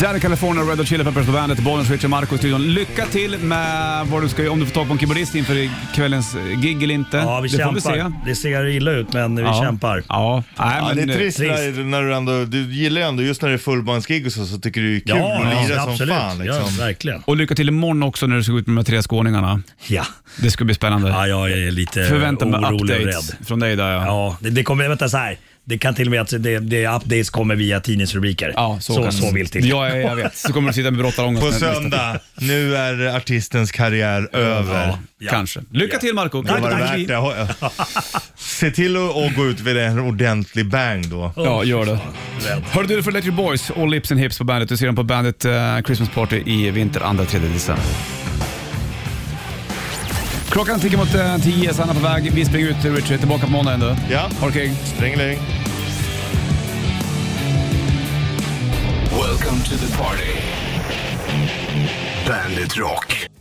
B: Danny California, Red Hot Chili Peppers på bandet, Bollens Richard Marco i studion. Lycka till med vad du ska om du får tag på en keyboardist inför kvällens gig eller inte.
F: Ja, vi
B: det
F: kämpar.
B: får vi se.
F: Det ser illa ut, men vi
B: Ja.
F: kämpar.
B: Ja, nej,
C: Ja, det
B: men, eh,
C: är trist,
F: trist.
C: När, när du ändå, du gillar ju ändå just när det är fullbandsgig och så, så tycker du det är kul
F: Ja,
C: att lira
F: ja,
C: som
F: absolut.
C: fan. Liksom.
F: Ja, verkligen.
B: Och lycka till imorgon också när du ska gå ut med de här tre skåningarna.
F: Ja.
B: Det ska bli spännande.
F: ja, jag är lite
B: Förvänta mig
F: orolig och
B: updates
F: rädd.
B: från dig där ja.
F: Ja, det, det kommer, vänta så här. Det kan till och med att det, det updates kommer via tidningsrubriker.
B: Ja, så,
F: så,
B: kan-
F: så vill till.
B: Ja, jag vet. Så kommer du sitta med brottarångest.
C: På
B: när-
C: söndag, nu är artistens karriär över.
F: Ja,
B: Ja.
F: ja.
B: Kanske. Lycka till Marco
C: Det var det
B: Tack, tack.
C: värt det. Ha- Se till att att gå ut vid en ordentlig bang då.
B: Ja, gör det.
F: Rädd.
B: Hörde du, det för Electric Boys, All Lips and Hips på bandet. Du ser dem på bandet eh, Christmas Party i vinter, 2-3 december. Klockan tickar mot eh, 10, Sanna på väg. Vi springer ut, Richard. Tillbaka på måndag ändå.
C: Ja,
B: Ha det kul.
C: Ringeling.
I: Welcome to the party. Bandit Rock.